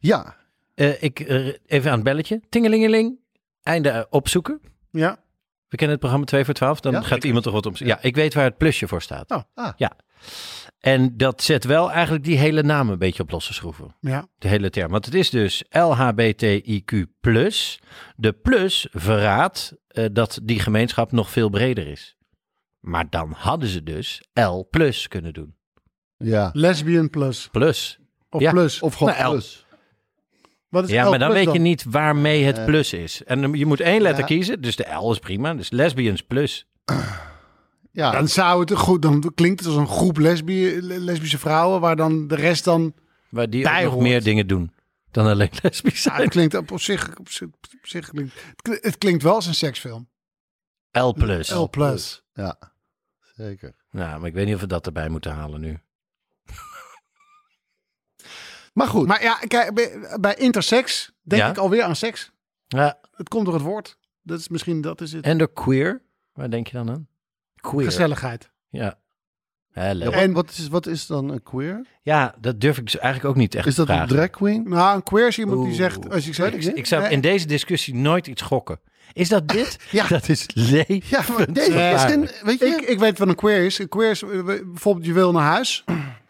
Speaker 1: Ja,
Speaker 2: Eh, ik, eh, even aan het belletje. Tingelingeling. Einde eh, opzoeken.
Speaker 3: Ja.
Speaker 2: We kennen het programma 2 voor 12. Dan
Speaker 1: Ja,
Speaker 2: gaat iemand toch wat opzoeken. Ja, ik weet waar het plusje voor staat.
Speaker 3: Oh,
Speaker 1: ah.
Speaker 2: Ja. En dat zet wel eigenlijk die hele naam een beetje op losse schroeven.
Speaker 3: Ja.
Speaker 2: De hele term. Want het is dus LHBTIQ+. De plus verraadt eh, dat die gemeenschap nog veel breder is. Maar dan hadden ze dus L plus kunnen doen.
Speaker 1: ja.
Speaker 3: Lesbian plus.
Speaker 2: Plus.
Speaker 3: Of
Speaker 2: Ja.
Speaker 3: plus.
Speaker 1: Of gewoon
Speaker 2: Nou, L.
Speaker 1: plus. Eh,
Speaker 3: Wat is
Speaker 2: Ja,
Speaker 3: L
Speaker 2: maar dan
Speaker 3: plus
Speaker 2: weet je niet waarmee het plus is. En dan- je moet één letter
Speaker 1: Ja.
Speaker 2: kiezen. Dus de L is prima. Dus lesbians plus.
Speaker 1: Ja,
Speaker 3: Dan zou het goed, dan klinkt het als een groep lesbi- lesbische vrouwen, waar dan de rest dan.
Speaker 2: Waar die
Speaker 3: Bij
Speaker 2: ook nog
Speaker 3: hoort.
Speaker 2: meer dingen doen dan alleen lesbisch
Speaker 3: Ja, het
Speaker 2: zijn.
Speaker 3: klinkt op, op zich, op zich, op zich klinkt, het klinkt- het klinkt wel als een seksfilm.
Speaker 2: L plus.
Speaker 3: L plus.
Speaker 1: ja. Zeker.
Speaker 2: Nou, maar ik weet niet of we dat erbij moeten halen nu.
Speaker 1: Maar goed.
Speaker 3: Maar ja, kijk, bij, bij intersex denk
Speaker 2: Ja.
Speaker 3: ik alweer aan seks.
Speaker 2: Ja.
Speaker 3: Het komt door het woord. Dat is misschien dat is het.
Speaker 2: En de queer. Waar denk je dan aan? Queer.
Speaker 3: Gezelligheid.
Speaker 2: Ja. Hè, leuk.
Speaker 1: Ja, wat, wat, is, wat is dan een queer?
Speaker 2: Ja, dat durf ik zo eigenlijk ook niet echt
Speaker 1: Is
Speaker 2: te
Speaker 1: dat een
Speaker 2: vragen.
Speaker 1: drag queen?
Speaker 3: Nou, een queer is iemand die
Speaker 2: Oeh.
Speaker 3: zegt, als ik zeg,
Speaker 2: Ik, ik zou in deze discussie nooit iets gokken. Is dat dit?
Speaker 1: Ja.
Speaker 2: Dat is leven.
Speaker 1: Ja, maar nee, is geen- weet je?
Speaker 3: ik, ik weet wat een queer is. Een queer is eh, bijvoorbeeld, je wil naar huis.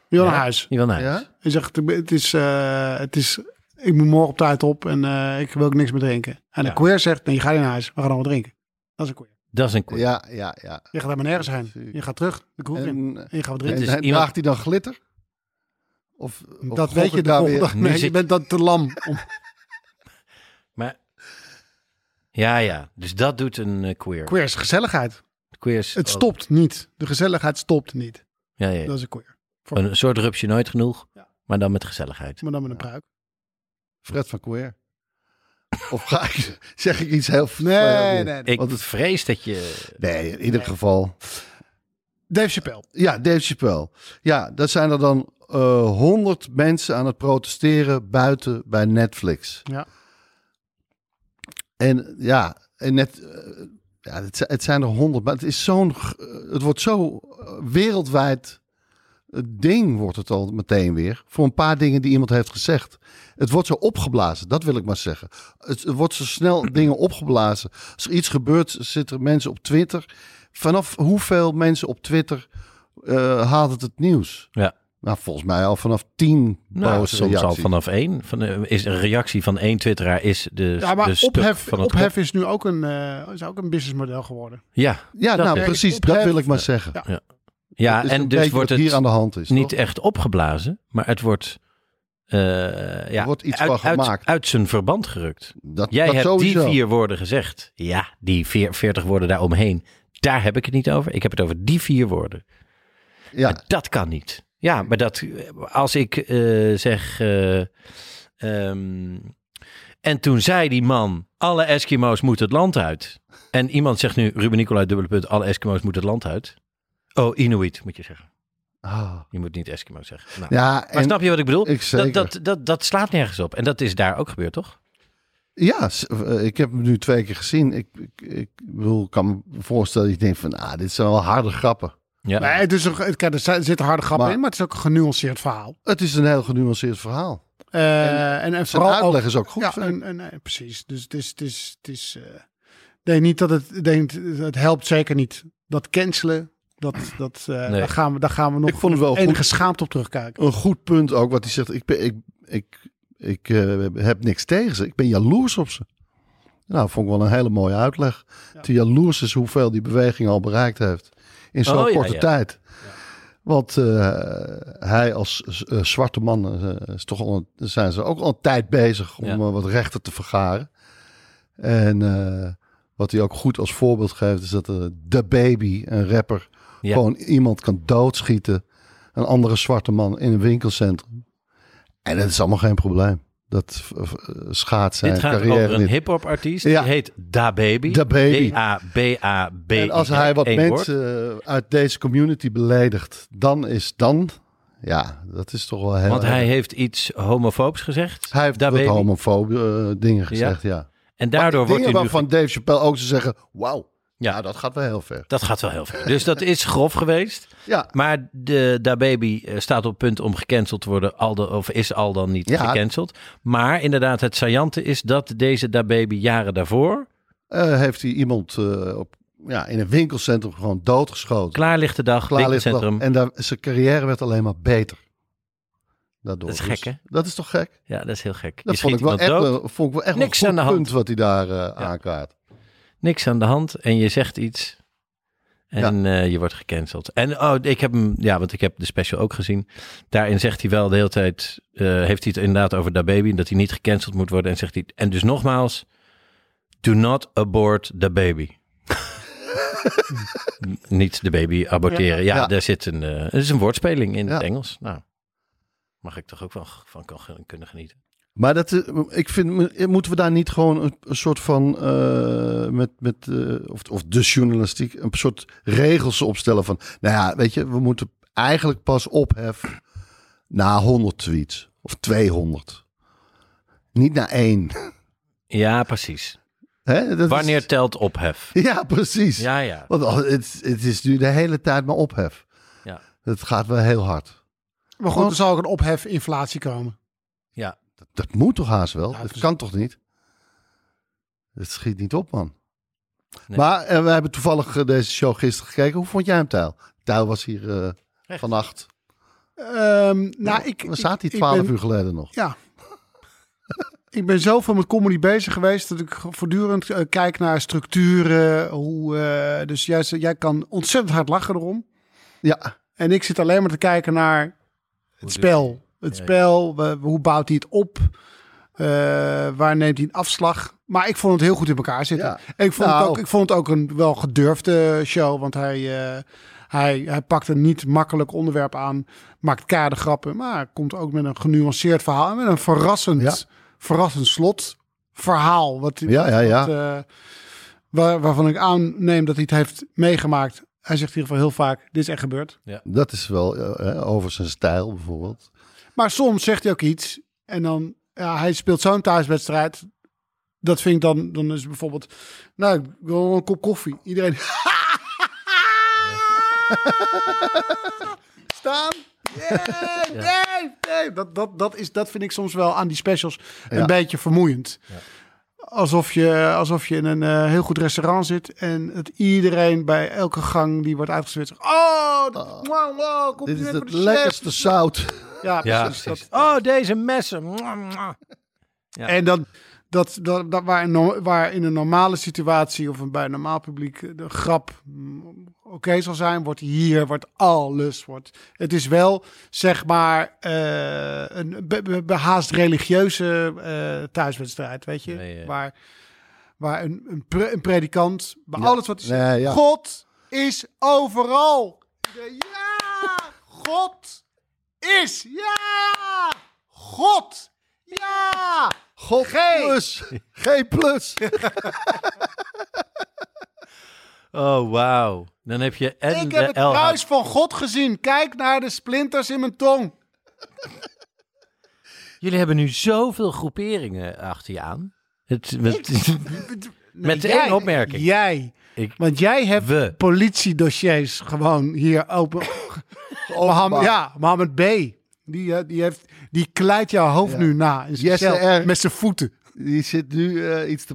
Speaker 3: Je wil naar huis.
Speaker 2: Niet wel naar huis.
Speaker 1: ja?
Speaker 3: Je zegt, het is, eh, het is, ik moet morgen op tijd op en eh, ik wil ook niks meer drinken. En een
Speaker 2: Ja.
Speaker 3: queer zegt, nee, je gaat niet naar huis, we gaan allemaal drinken. Dat is een queer.
Speaker 2: Dat is een koe.
Speaker 1: Ja, ja, ja.
Speaker 3: Je gaat helemaal nergens heen. Je gaat terug de kroeg in.
Speaker 1: En, eh,
Speaker 3: En je gaat wat
Speaker 1: en,
Speaker 3: drinken.
Speaker 2: is
Speaker 1: en
Speaker 2: iemand-
Speaker 1: draagt hij dan glitter? Of, of
Speaker 3: dat
Speaker 1: gok
Speaker 3: weet je
Speaker 1: ik
Speaker 3: de volgende dag.
Speaker 2: Nu
Speaker 3: Nee, je
Speaker 2: zit-
Speaker 3: bent dan te lam. Om...
Speaker 2: Maar... Ja, ja. Dus dat doet een eh, queer.
Speaker 3: Queer is gezelligheid.
Speaker 2: Queers
Speaker 3: Het
Speaker 2: ook.
Speaker 3: stopt niet. De gezelligheid stopt niet.
Speaker 2: Ja, ja, ja.
Speaker 3: Dat is een queer.
Speaker 2: Een soort rupsje nooit genoeg, maar dan met gezelligheid.
Speaker 3: Maar dan met een pruik.
Speaker 1: Fred van Queer. Of ga ik, zeg ik iets heel...
Speaker 3: Nee, nee, nee.
Speaker 2: Ik
Speaker 1: Want het-
Speaker 2: vrees dat je...
Speaker 1: Nee, in ieder geval.
Speaker 3: Dave Chappelle.
Speaker 1: Ja, Dave Chappelle. Ja, dat zijn er dan eh, honderd mensen aan het protesteren buiten bij Netflix.
Speaker 3: Ja.
Speaker 1: En ja, en net, eh, ja het, zi- het zijn er honderd, maar het is zo'n, g- eh, het wordt zo eh, wereldwijd het ding wordt het al meteen weer voor een paar dingen die iemand heeft gezegd. Het wordt zo opgeblazen, dat wil ik maar zeggen. Het, het wordt zo snel dingen opgeblazen. Als er iets gebeurt, zitten er mensen op Twitter. Vanaf hoeveel mensen op Twitter eh, haalt het het nieuws?
Speaker 2: Ja.
Speaker 1: Nou, volgens mij al vanaf tien
Speaker 2: Nou,
Speaker 1: boze
Speaker 2: soms al
Speaker 1: reacties.
Speaker 2: vanaf één. Van, eh, is een reactie van één twitteraar is de,
Speaker 3: Ja, maar
Speaker 2: de stuk
Speaker 3: ophef,
Speaker 2: van het
Speaker 3: ophef is nu ook een, eh, is ook een businessmodel geworden.
Speaker 2: kop. Ja,
Speaker 1: Ja,
Speaker 2: Dat
Speaker 1: nou
Speaker 2: werkt.
Speaker 1: precies, dat wil ik maar zeggen.
Speaker 3: Ja.
Speaker 2: ja
Speaker 1: Dat is
Speaker 2: en
Speaker 1: een
Speaker 2: dus
Speaker 1: beetje
Speaker 2: wordt
Speaker 1: wat
Speaker 2: het
Speaker 1: hier aan de hand is.
Speaker 2: niet
Speaker 1: toch?
Speaker 2: echt opgeblazen, maar het wordt, eh, ja,
Speaker 1: Er wordt iets
Speaker 2: uit,
Speaker 1: van
Speaker 2: uit-
Speaker 1: gemaakt.
Speaker 2: Uit, zijn verband gerukt.
Speaker 1: Dat,
Speaker 2: Jij
Speaker 1: dat
Speaker 2: hebt
Speaker 1: sowieso.
Speaker 2: die vier woorden gezegd. Ja, die veer- veertig woorden daaromheen. Daar heb ik het niet over. Ik heb het over die vier woorden.
Speaker 1: Ja,
Speaker 2: En dat kan niet. Ja, maar dat als ik eh, zeg. eh, ehm, en toen zei die man: alle Eskimo's moeten het land uit. En iemand zegt nu: Ruben Nicolai, dubbele punt, alle Eskimo's moeten het land uit. Oh, Inuit moet je zeggen.
Speaker 1: Ah.
Speaker 2: Je moet niet Eskimo zeggen. Nou,
Speaker 1: ja
Speaker 2: maar
Speaker 1: en
Speaker 2: snap je wat ik bedoel?
Speaker 1: ik zeker.
Speaker 2: Dat, dat, dat, dat slaat nergens op. En dat is daar ook gebeurd, toch?
Speaker 1: Ja, s- eh, ik heb hem nu twee keer gezien. Ik, ik, ik bedoel, ik kan me voorstellen dat je denkt van, ah, dit zijn wel harde grappen.
Speaker 2: Ja.
Speaker 3: Nee, het is een, het- kijk, er zi- er zitten harde grappen
Speaker 1: Maar-
Speaker 3: in, maar het is ook een genuanceerd verhaal.
Speaker 1: Het is een heel genuanceerd verhaal.
Speaker 3: Eh, en, en,
Speaker 1: Zijn
Speaker 3: vooral ook,
Speaker 1: uitleg is ook goed.
Speaker 3: ja,
Speaker 1: vind ik.
Speaker 3: en, en, eh, precies. Dus het is, het is, het is eh, ik denk niet dat het, ik denk, het helpt zeker niet. Dat cancelen, dat, dat, eh,
Speaker 2: Nee.
Speaker 3: daar, gaan we, daar gaan we nog
Speaker 1: Ik vond het wel goed.
Speaker 3: enige schaamte op terugkijken.
Speaker 1: Een goed punt ook, wat hij zegt. Ik, ben, ik, ik, ik eh, heb niks tegen ze. Ik ben jaloers op ze. Nou, vond ik wel een hele mooie uitleg. Die jaloers is hoeveel die beweging al bereikt heeft. In zo'n
Speaker 2: Oh, ja,
Speaker 1: korte
Speaker 2: ja.
Speaker 1: tijd. Want eh, hij als z- eh, zwarte man eh, is toch al een- zijn ze ook al een tijd bezig om
Speaker 2: Ja.
Speaker 1: eh, wat rechten te vergaren. En eh, wat hij ook goed als voorbeeld geeft is dat eh, de Baby, een rapper,
Speaker 2: Ja.
Speaker 1: gewoon iemand kan doodschieten. Een andere zwarte man in een winkelcentrum. En dat is allemaal geen probleem. Dat v- v- schaadt zijn
Speaker 2: Dit gaat
Speaker 1: carrière
Speaker 2: over een
Speaker 1: niet.
Speaker 2: hip-hop artiest.
Speaker 1: Ja.
Speaker 2: Die heet Da Baby.
Speaker 1: Da Baby.
Speaker 2: D-A-B-A-B.
Speaker 1: En als hij wat
Speaker 2: Eén woord.
Speaker 1: mensen eh, uit deze community beledigt, dan is dan. Ja, dat is toch wel heel.
Speaker 2: Want hij heeft iets homofoobs gezegd.
Speaker 1: Hij heeft
Speaker 2: Da
Speaker 1: wat
Speaker 2: Baby.
Speaker 1: homofoobe eh, dingen gezegd, ja.
Speaker 2: En daardoor
Speaker 1: Maar
Speaker 2: wordt hij
Speaker 1: dingen
Speaker 2: nu... ge-
Speaker 1: waarvan Dave Chappelle ook zou zeggen, wauw, ja.
Speaker 2: Ja.
Speaker 1: dat gaat wel heel ver.
Speaker 2: Dat gaat wel heel ver. Dus dat is grof geweest.
Speaker 1: Ja,
Speaker 2: Maar de Da Baby eh, staat op punt om gecanceld te worden. Al de, of is al dan niet
Speaker 1: Ja.
Speaker 2: gecanceld. Maar inderdaad, het saillante is dat deze Da Baby jaren daarvoor...
Speaker 1: eh, heeft hij iemand eh, op, ja, in een winkelcentrum gewoon doodgeschoten.
Speaker 2: Klaar ligt de dag,
Speaker 1: Klaar ligt het al.
Speaker 2: winkelcentrum.
Speaker 1: En daar, zijn carrière werd alleen maar beter. Daardoor.
Speaker 2: Dat is
Speaker 1: Dus
Speaker 2: gek, hè?
Speaker 1: Dat is toch gek?
Speaker 2: Ja, dat is heel gek.
Speaker 1: Dat
Speaker 2: Je
Speaker 1: vond
Speaker 2: schiet
Speaker 1: ik, wel
Speaker 2: iemand
Speaker 1: echt,
Speaker 2: dood,
Speaker 1: een- vond ik wel echt
Speaker 2: Niks
Speaker 1: een
Speaker 2: aan
Speaker 1: goed
Speaker 2: de hand.
Speaker 1: punt wat hij daar eh, aankaart.
Speaker 2: niks aan de hand en je zegt iets... En eh, je wordt gecanceld. En oh, ik heb hem, ja, want ik heb de special ook gezien. Daarin zegt hij wel de hele tijd, eh, heeft hij het inderdaad over Da Baby, dat hij niet gecanceld moet worden. En zegt hij, en dus nogmaals, do not abort the baby. N- niet de baby aborteren. Ja,
Speaker 1: Ja.
Speaker 2: daar zit een, eh, het is een woordspeling in het
Speaker 1: Ja.
Speaker 2: Engels. Nou, mag ik toch ook wel g- van kan- kunnen genieten.
Speaker 1: Maar dat, eh, ik vind, moeten we daar niet gewoon een, een soort van, eh, met, met, eh, of, of de journalistiek, een soort regels opstellen van, nou ja, weet je, we moeten eigenlijk pas opheffen na 100 tweets of 200. Niet na één.
Speaker 2: Ja, precies.
Speaker 1: Hè? Dat is-
Speaker 2: Wanneer telt ophef?
Speaker 1: Ja, precies.
Speaker 2: Ja, ja.
Speaker 1: Want al- het, het is nu de hele tijd maar ophef.
Speaker 2: Ja.
Speaker 1: Het gaat wel heel hard.
Speaker 3: Maar goed, er zal ook een ophef inflatie komen.
Speaker 2: ja.
Speaker 1: Dat, dat moet toch haast wel?
Speaker 3: Ja,
Speaker 1: dat
Speaker 3: dus-
Speaker 1: kan toch niet? Het schiet niet op, man.
Speaker 2: Nee.
Speaker 1: Maar eh, we hebben toevallig eh, deze show gisteren gekeken. Hoe vond jij hem, Tijl? Tijl was hier eh,
Speaker 2: Echt?
Speaker 1: vannacht.
Speaker 3: Ehm nou, ik,
Speaker 1: Waar staat hij
Speaker 3: ik- ik
Speaker 1: twaalf
Speaker 3: ben-
Speaker 1: uur geleden nog?
Speaker 3: Ja. ik ben zoveel met comedy bezig geweest dat ik voortdurend eh, kijk naar structuren. Hoe, eh, dus juist, jij kan ontzettend hard lachen erom.
Speaker 1: Ja,
Speaker 3: En ik zit alleen maar te kijken naar het spel. Het spel, we- hoe bouwt hij het op? Eh, waar neemt hij een afslag? Maar ik vond het heel goed in elkaar zitten.
Speaker 1: Ja.
Speaker 3: En ik vond,
Speaker 1: Nou.
Speaker 3: het ook, ik vond het ook een wel gedurfde show. Want hij, eh, hij, hij pakt een niet makkelijk onderwerp aan. Maakt keiharde grappen. Maar komt ook met een genuanceerd verhaal. En met een verrassend,
Speaker 1: Ja.
Speaker 3: verrassend slotverhaal. Wat,
Speaker 1: ja, ja. ja.
Speaker 3: dat, eh, waar, waarvan ik aanneem dat hij het heeft meegemaakt. Hij zegt in ieder geval heel vaak, dit is echt gebeurd.
Speaker 1: Dat is wel eh, eh, over zijn stijl bijvoorbeeld.
Speaker 3: Maar soms zegt hij ook iets en dan, ja, hij speelt zo'n thuiswedstrijd. Dat vind ik dan, dan is het bijvoorbeeld, nou, ik wil wel een kop koffie. Iedereen. Staan. Yeah, nee, nee. Dat, dat, dat, is, dat vind ik soms wel aan die specials een
Speaker 1: Ja.
Speaker 3: beetje vermoeiend. Alsof, je, alsof je in een eh, heel goed restaurant zit en dat iedereen bij elke gang die wordt uitgezwitst zegt, oh, dat, wow, wow,
Speaker 1: Dit
Speaker 3: compliment
Speaker 1: is
Speaker 3: voor
Speaker 1: het
Speaker 3: de chef."
Speaker 1: lekkerste zout.
Speaker 3: Ja,
Speaker 2: Ja,
Speaker 3: precies. Dat-
Speaker 2: precies. Oh, deze messen. Ja.
Speaker 3: En dan, dat, dat, dat waar, in, no- waar in een normale situatie of een, bij een normaal publiek de grap mm, oké zal zijn, wordt hier, wordt alles. Wordt, het is wel, zeg maar, eh, een be- be- be- haast religieuze eh, thuiswedstrijd, weet je?
Speaker 2: Nee, eh.
Speaker 3: Waar, waar een, een, pre- een predikant, bij alles wat hij zegt,
Speaker 1: Nee, ja.
Speaker 3: God is overal. Ja, God is, ja, God, ja.
Speaker 1: God plus. G plus.
Speaker 2: Oh, wauw. Dan heb je en eh,
Speaker 3: Ik
Speaker 2: de
Speaker 3: heb het
Speaker 2: LH
Speaker 3: kruis van God gezien. Kijk naar de splinters in mijn tong.
Speaker 2: Jullie hebben nu zoveel groeperingen achter je aan. Het, met, met de
Speaker 3: Jij-
Speaker 2: één opmerking.
Speaker 3: Jij.
Speaker 2: Ik-
Speaker 3: Want jij hebt
Speaker 2: We.
Speaker 3: politiedossiers gewoon hier open. Mohammed, ja, Mohammed B. Die, eh, die, heeft, die kleit jouw hoofd nu na. in zijn
Speaker 1: Jesse
Speaker 3: cel,
Speaker 1: R.
Speaker 3: Met zijn voeten.
Speaker 1: Die zit nu eh, iets te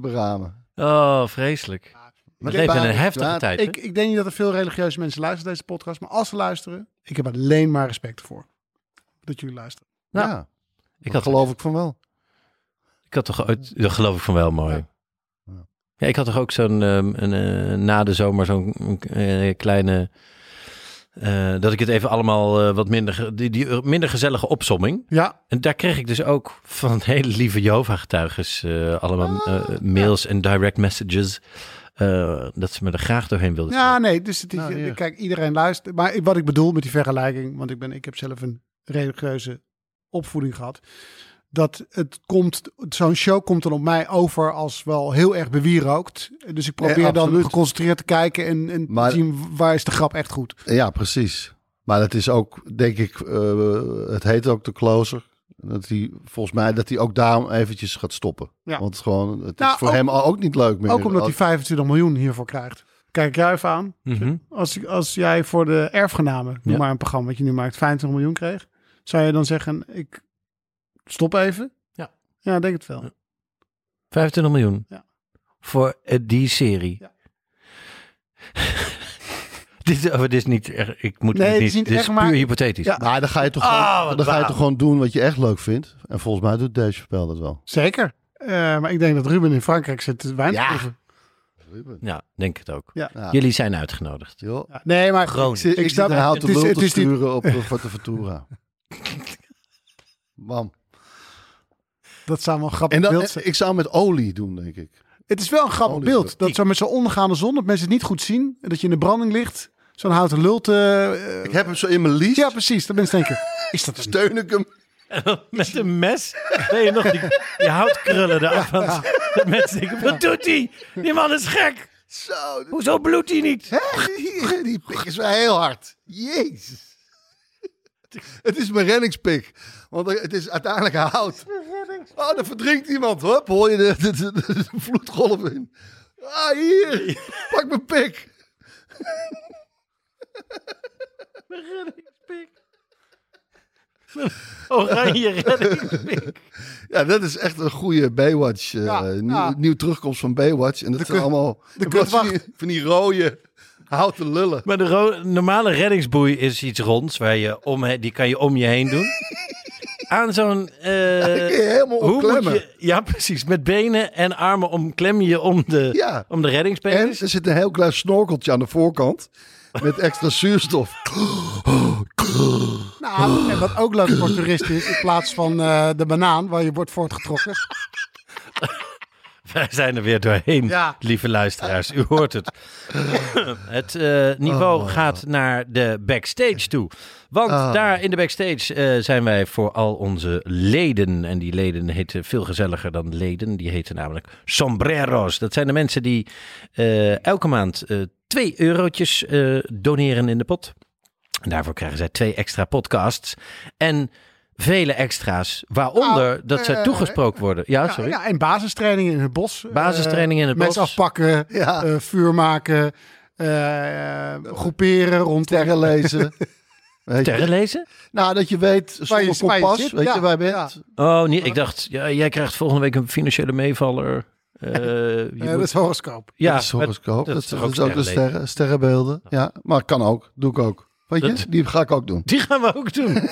Speaker 1: beramen.
Speaker 2: Oh, vreselijk. We
Speaker 1: Ik
Speaker 2: leven in
Speaker 1: heb
Speaker 2: een
Speaker 1: haar-
Speaker 2: heftige
Speaker 1: ja,
Speaker 2: tijd. hè?
Speaker 3: Ik, ik denk niet dat er veel religieuze mensen luisteren naar deze podcast. Maar als ze luisteren, ik heb alleen maar respect voor. Dat jullie luisteren.
Speaker 2: Nou,
Speaker 1: ja,
Speaker 2: ik,
Speaker 1: dat
Speaker 2: had,
Speaker 1: geloof ik van wel.
Speaker 2: ik had toch ooit, dat geloof ik van wel mooi. Ja, ik had toch ook zo'n, ehm, een, eh, na de zomer zo'n eh, kleine, eh, dat ik het even allemaal eh, wat minder, ge- die, die minder gezellige opsomming.
Speaker 3: Ja,
Speaker 2: En daar kreeg ik dus ook van hele lieve Jehovah-getuigen eh, allemaal
Speaker 3: Ah,
Speaker 2: eh, mails en direct messages. eh, dat ze me er graag doorheen wilden.
Speaker 3: ja nee. Dus het is,
Speaker 1: Nou, ja.
Speaker 3: kijk, iedereen luistert. Maar ik- wat ik bedoel met die vergelijking. Want ik, ben, ik heb zelf een religieuze opvoeding gehad. Dat het komt, zo'n show komt dan op mij over als wel heel erg bewierookt. Dus ik probeer
Speaker 1: Ja,
Speaker 3: dan
Speaker 1: absoluut.
Speaker 3: geconcentreerd te kijken en, en te
Speaker 1: Maar-
Speaker 3: zien waar is de grap echt goed.
Speaker 1: Ja, precies. Maar het is ook, denk ik, eh, het heet ook de closer. Dat hij, volgens mij, dat hij ook daarom eventjes gaat stoppen.
Speaker 3: Ja.
Speaker 1: Want gewoon, het
Speaker 3: Nou,
Speaker 1: is voor
Speaker 3: ook-
Speaker 1: hem ook niet leuk meer.
Speaker 3: Ook omdat hij 25 miljoen hiervoor krijgt. Kijk ik jou even aan.
Speaker 2: Mhm.
Speaker 3: Als, als jij voor de erfgenamen, noem
Speaker 2: Ja.
Speaker 3: maar een programma wat je nu maakt, 25 miljoen kreeg, zou je dan zeggen, ik stop even?
Speaker 2: Ja.
Speaker 3: Ja, ik denk het wel.
Speaker 2: 25 miljoen.
Speaker 3: Ja.
Speaker 2: Voor eh, die serie.
Speaker 3: Ja.
Speaker 2: dit, is- oh, dit is niet echt. Ik moet
Speaker 3: Nee,
Speaker 2: dit
Speaker 3: het
Speaker 2: niet,
Speaker 3: is niet
Speaker 2: dit
Speaker 3: echt,
Speaker 2: is
Speaker 3: maar-
Speaker 2: puur hypothetisch.
Speaker 3: Ja.
Speaker 1: Maar dan ga je toch,
Speaker 2: Ah,
Speaker 1: gewoon,
Speaker 2: wat
Speaker 1: dan ga je
Speaker 2: waar.
Speaker 1: toch gewoon doen wat je echt leuk vindt. En volgens mij doet Dave Chappelle dat wel.
Speaker 3: Zeker. Eh, maar ik denk dat Ruben in Frankrijk zit te wijn te
Speaker 1: Ja.
Speaker 3: proeven.
Speaker 2: Ja, denk het ook.
Speaker 3: Ja.
Speaker 1: Ja.
Speaker 2: Jullie zijn uitgenodigd.
Speaker 1: Joh.
Speaker 3: Ja, Nee, maar
Speaker 2: Gewoon.
Speaker 1: Ik zit, ik
Speaker 3: snap
Speaker 1: zit
Speaker 3: het.
Speaker 1: een houten
Speaker 3: Het is-
Speaker 1: lul
Speaker 3: het
Speaker 1: te
Speaker 3: is niet-
Speaker 1: sturen op eh, de Forteventura. Bam.
Speaker 3: dat zou wel een grappig
Speaker 1: En dan,
Speaker 3: beeld zijn.
Speaker 1: ik zou hem met olie doen, denk ik.
Speaker 3: Het is wel een grappig
Speaker 2: Oh,
Speaker 1: Olie
Speaker 3: beeld.
Speaker 1: erop.
Speaker 3: Dat zo met zo'n ondergaande zon, dat mensen het niet goed zien. En dat je in de branding ligt. Zo'n houten lul te... eh,
Speaker 1: Ik heb hem zo in mijn lies.
Speaker 3: ja, precies. Dat mensen denken, is dat een
Speaker 1: Steun ik hem.
Speaker 2: Met een mes. Ben je nog die, die houtkrullen eraf. Ja. Mensen denken: wat doet hij? Die man is gek.
Speaker 1: Zo.
Speaker 2: Hoezo bloedt hij niet?
Speaker 1: Hier, die pik is wel heel hard. Jezus. Het is mijn reddingspik. Want het is uiteindelijk hout. Oh, dan verdrinkt iemand. Hop, hoor je de, de, de- de vloedgolf in. Ah, hier. Pak mijn pik.
Speaker 2: Oranje reddingspik.
Speaker 1: Ja, dat is echt een goede Baywatch. eh,
Speaker 3: Ja,
Speaker 1: nieuw,
Speaker 3: ja.
Speaker 1: nieuw terugkomst van Baywatch. En dat zijn allemaal dat zijn die- van die rode houten lullen.
Speaker 2: Maar de ro- normale reddingsboei is iets ronds. Waar je om, die kan je om je heen doen. aan zo'n... eh,
Speaker 1: dan kun je helemaal
Speaker 2: hoe moet
Speaker 1: omklemmen.
Speaker 2: je, ja, precies. Met benen en armen omklem je om de,
Speaker 1: Ja.
Speaker 2: om de
Speaker 1: En
Speaker 2: reddingspenis.
Speaker 1: er zit een heel klein snorkeltje aan de voorkant. Met extra zuurstof.
Speaker 3: Nou, en wat ook leuk voor toeristen is, in plaats van eh, de banaan waar je wordt voortgetrokken.
Speaker 2: Wij zijn er weer doorheen,
Speaker 3: Ja.
Speaker 2: lieve luisteraars. U hoort het. het eh, niveau
Speaker 3: Oh.
Speaker 2: gaat naar de backstage toe. Want daar in de backstage eh, zijn wij voor al onze leden. En die leden heten veel gezelliger dan leden. Die heten namelijk sombreros. Dat zijn de mensen die eh, elke maand eh 2 eurotjes eh, doneren in de pot. En daarvoor krijgen zij twee extra podcasts. En vele extra's, waaronder dat zij toegesproken worden. Ja, sorry.
Speaker 3: Oh, eh, Ja, en basistraining in het bos. eh,
Speaker 2: Basistraining in het
Speaker 3: Mensen
Speaker 2: bos.
Speaker 3: afpakken,
Speaker 1: Ja.
Speaker 3: eh, vuur maken, eh, groeperen rond.
Speaker 1: Terren lezen. Weet je?
Speaker 2: Sterren lezen?
Speaker 1: Nou, dat je weet
Speaker 3: Waar je-
Speaker 1: zonder
Speaker 3: waar je
Speaker 1: kompas,
Speaker 3: zit,
Speaker 1: weet
Speaker 3: ja,
Speaker 1: je waar je bent.
Speaker 2: Oh, nee, ik dacht, ja, jij krijgt volgende week een financiële meevaller. Eh, je
Speaker 3: Eh,
Speaker 2: moet-
Speaker 3: dat is horoscoop.
Speaker 2: ja,
Speaker 1: dat is horoscoop.
Speaker 2: dat
Speaker 1: Dat,
Speaker 2: is toch
Speaker 1: dat
Speaker 2: ook
Speaker 1: is ook de
Speaker 2: sterrenleven?
Speaker 1: sterren, sterrenbeelden. Ja, maar kan ook. Doe ik ook. Weet je,
Speaker 2: Dat-
Speaker 1: die ga ik ook doen.
Speaker 2: die gaan we ook doen.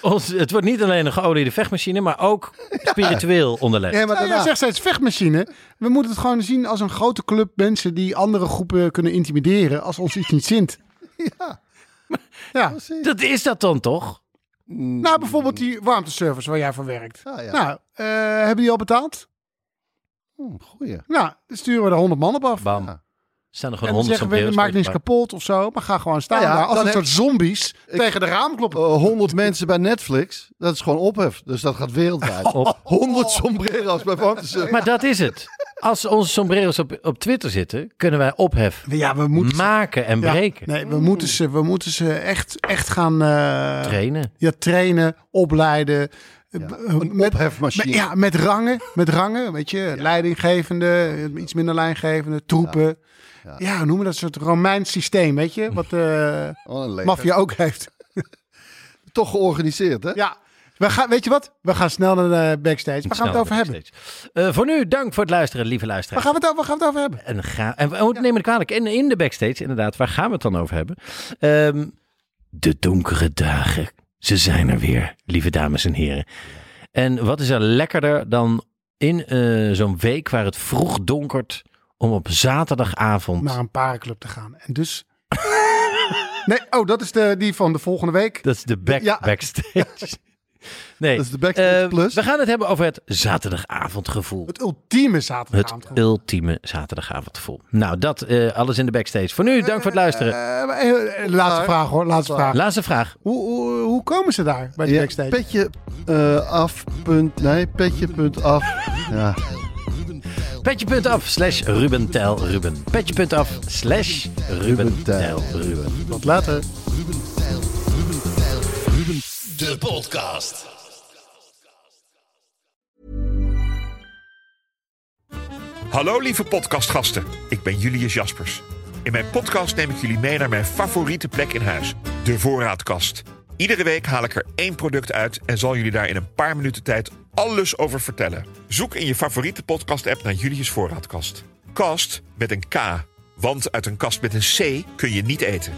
Speaker 2: Ons, het wordt niet alleen een geoliede vechtmachine, maar ook spiritueel onderlegd.
Speaker 3: Ja, maar
Speaker 1: Nou,
Speaker 3: jij
Speaker 1: ja.
Speaker 3: zegt steeds vechtmachine. We moeten het gewoon zien als een grote club mensen die andere groepen kunnen intimideren als ons iets niet zint. Ja. ja.
Speaker 2: Dat is dat dan toch?
Speaker 3: Nou, bijvoorbeeld die warmteservice waar jij voor werkt.
Speaker 1: Ah, ja.
Speaker 3: Nou, eh, hebben die al betaald?
Speaker 1: Hm, goeie.
Speaker 3: Nou, dan sturen we er honderd man op af.
Speaker 2: Bam. Staan er
Speaker 3: En
Speaker 2: gewoon
Speaker 3: dan
Speaker 2: honderd
Speaker 3: zeggen we,
Speaker 2: sombreros
Speaker 3: maak niks
Speaker 2: voor je
Speaker 3: kapot of zo. Maar ga gewoon staan
Speaker 1: Nou ja,
Speaker 3: daar als
Speaker 1: dan
Speaker 3: een
Speaker 1: heb-
Speaker 3: soort zombies tegen de raam kloppen.
Speaker 1: Eh, 100 mensen bij Netflix, dat is gewoon ophef. Dus dat gaat wereldwijd.
Speaker 2: Op.
Speaker 1: 100
Speaker 3: Oh.
Speaker 1: sombrero's bij warmtesurf.
Speaker 2: pak. Maar dat is het. Als onze sombreros op, op Twitter zitten, kunnen wij ophef
Speaker 3: Ja, we moeten ze,
Speaker 2: maken en
Speaker 3: ja,
Speaker 2: breken.
Speaker 3: nee, we moeten ze, we moeten ze echt, echt gaan eh,
Speaker 2: Trainen.
Speaker 3: ja, trainen, opleiden. B-
Speaker 1: Een
Speaker 3: met-
Speaker 1: ophefmachine.
Speaker 3: Met, ja, met rangen. Met rangen, weet je. Leidinggevende, eh, iets minder leidinggevende, troepen. Ja, noem maar dat soort Romeins systeem, weet je. Wat de
Speaker 1: Oh, een leger.
Speaker 3: maffia ook heeft.
Speaker 1: Toch georganiseerd, hè?
Speaker 3: Ja, we gaan, weet je wat? We gaan snel naar de backstage. Waar gaan we het over hebben?
Speaker 2: Eh, voor nu, dank voor het luisteren, lieve
Speaker 3: Waar
Speaker 2: luisteraars.
Speaker 3: gaan we het over, waar gaan we het over hebben?
Speaker 2: En ga, en, oh, neem me niet kwalijk. En in de backstage, inderdaad, waar gaan we het dan over hebben? Ehm, de donkere dagen. Ze zijn er weer, lieve dames en heren. En wat is er lekkerder dan in eh, zo'n week waar het vroeg donkert om op zaterdagavond.
Speaker 1: Nou,
Speaker 3: Naar een parenclub te gaan. En dus... nee, oh, dat is de, die van de volgende week.
Speaker 2: Dat is de back,
Speaker 3: Ja.
Speaker 2: backstage. Nee,
Speaker 1: Dat is de backstage
Speaker 2: eh,
Speaker 1: plus.
Speaker 2: We gaan het hebben over het zaterdagavondgevoel.
Speaker 3: Het ultieme
Speaker 2: Het
Speaker 3: zaterdagavond.
Speaker 2: ultieme zaterdagavondgevoel. Nou, dat eh, alles in de backstage. Voor nu, dank voor het luisteren.
Speaker 3: Eh, maar, eh, eh, laatste vraag hoor, laatste vraag.
Speaker 2: Laatste vraag.
Speaker 3: Hoe, hoe, hoe komen ze daar bij de
Speaker 1: Ja,
Speaker 3: backstage?
Speaker 1: petje eh, af. Punt, nee, petje punt af. Ja.
Speaker 2: Petje.af slash Ruben Tel Ruben. Petje.af slash Ruben Tel Ruben.
Speaker 1: Tot later.
Speaker 4: De podcast.
Speaker 5: Hallo lieve podcastgasten, ik ben Julius Jaspers. In mijn podcast neem ik jullie mee naar mijn favoriete plek in huis, de voorraadkast. Iedere week haal ik er één product uit en zal jullie daar in een paar minuten tijd alles over vertellen. Zoek in je favoriete podcast-app naar Julius Voorraadkast. Kast met een K, want uit een kast met een C kun je niet eten.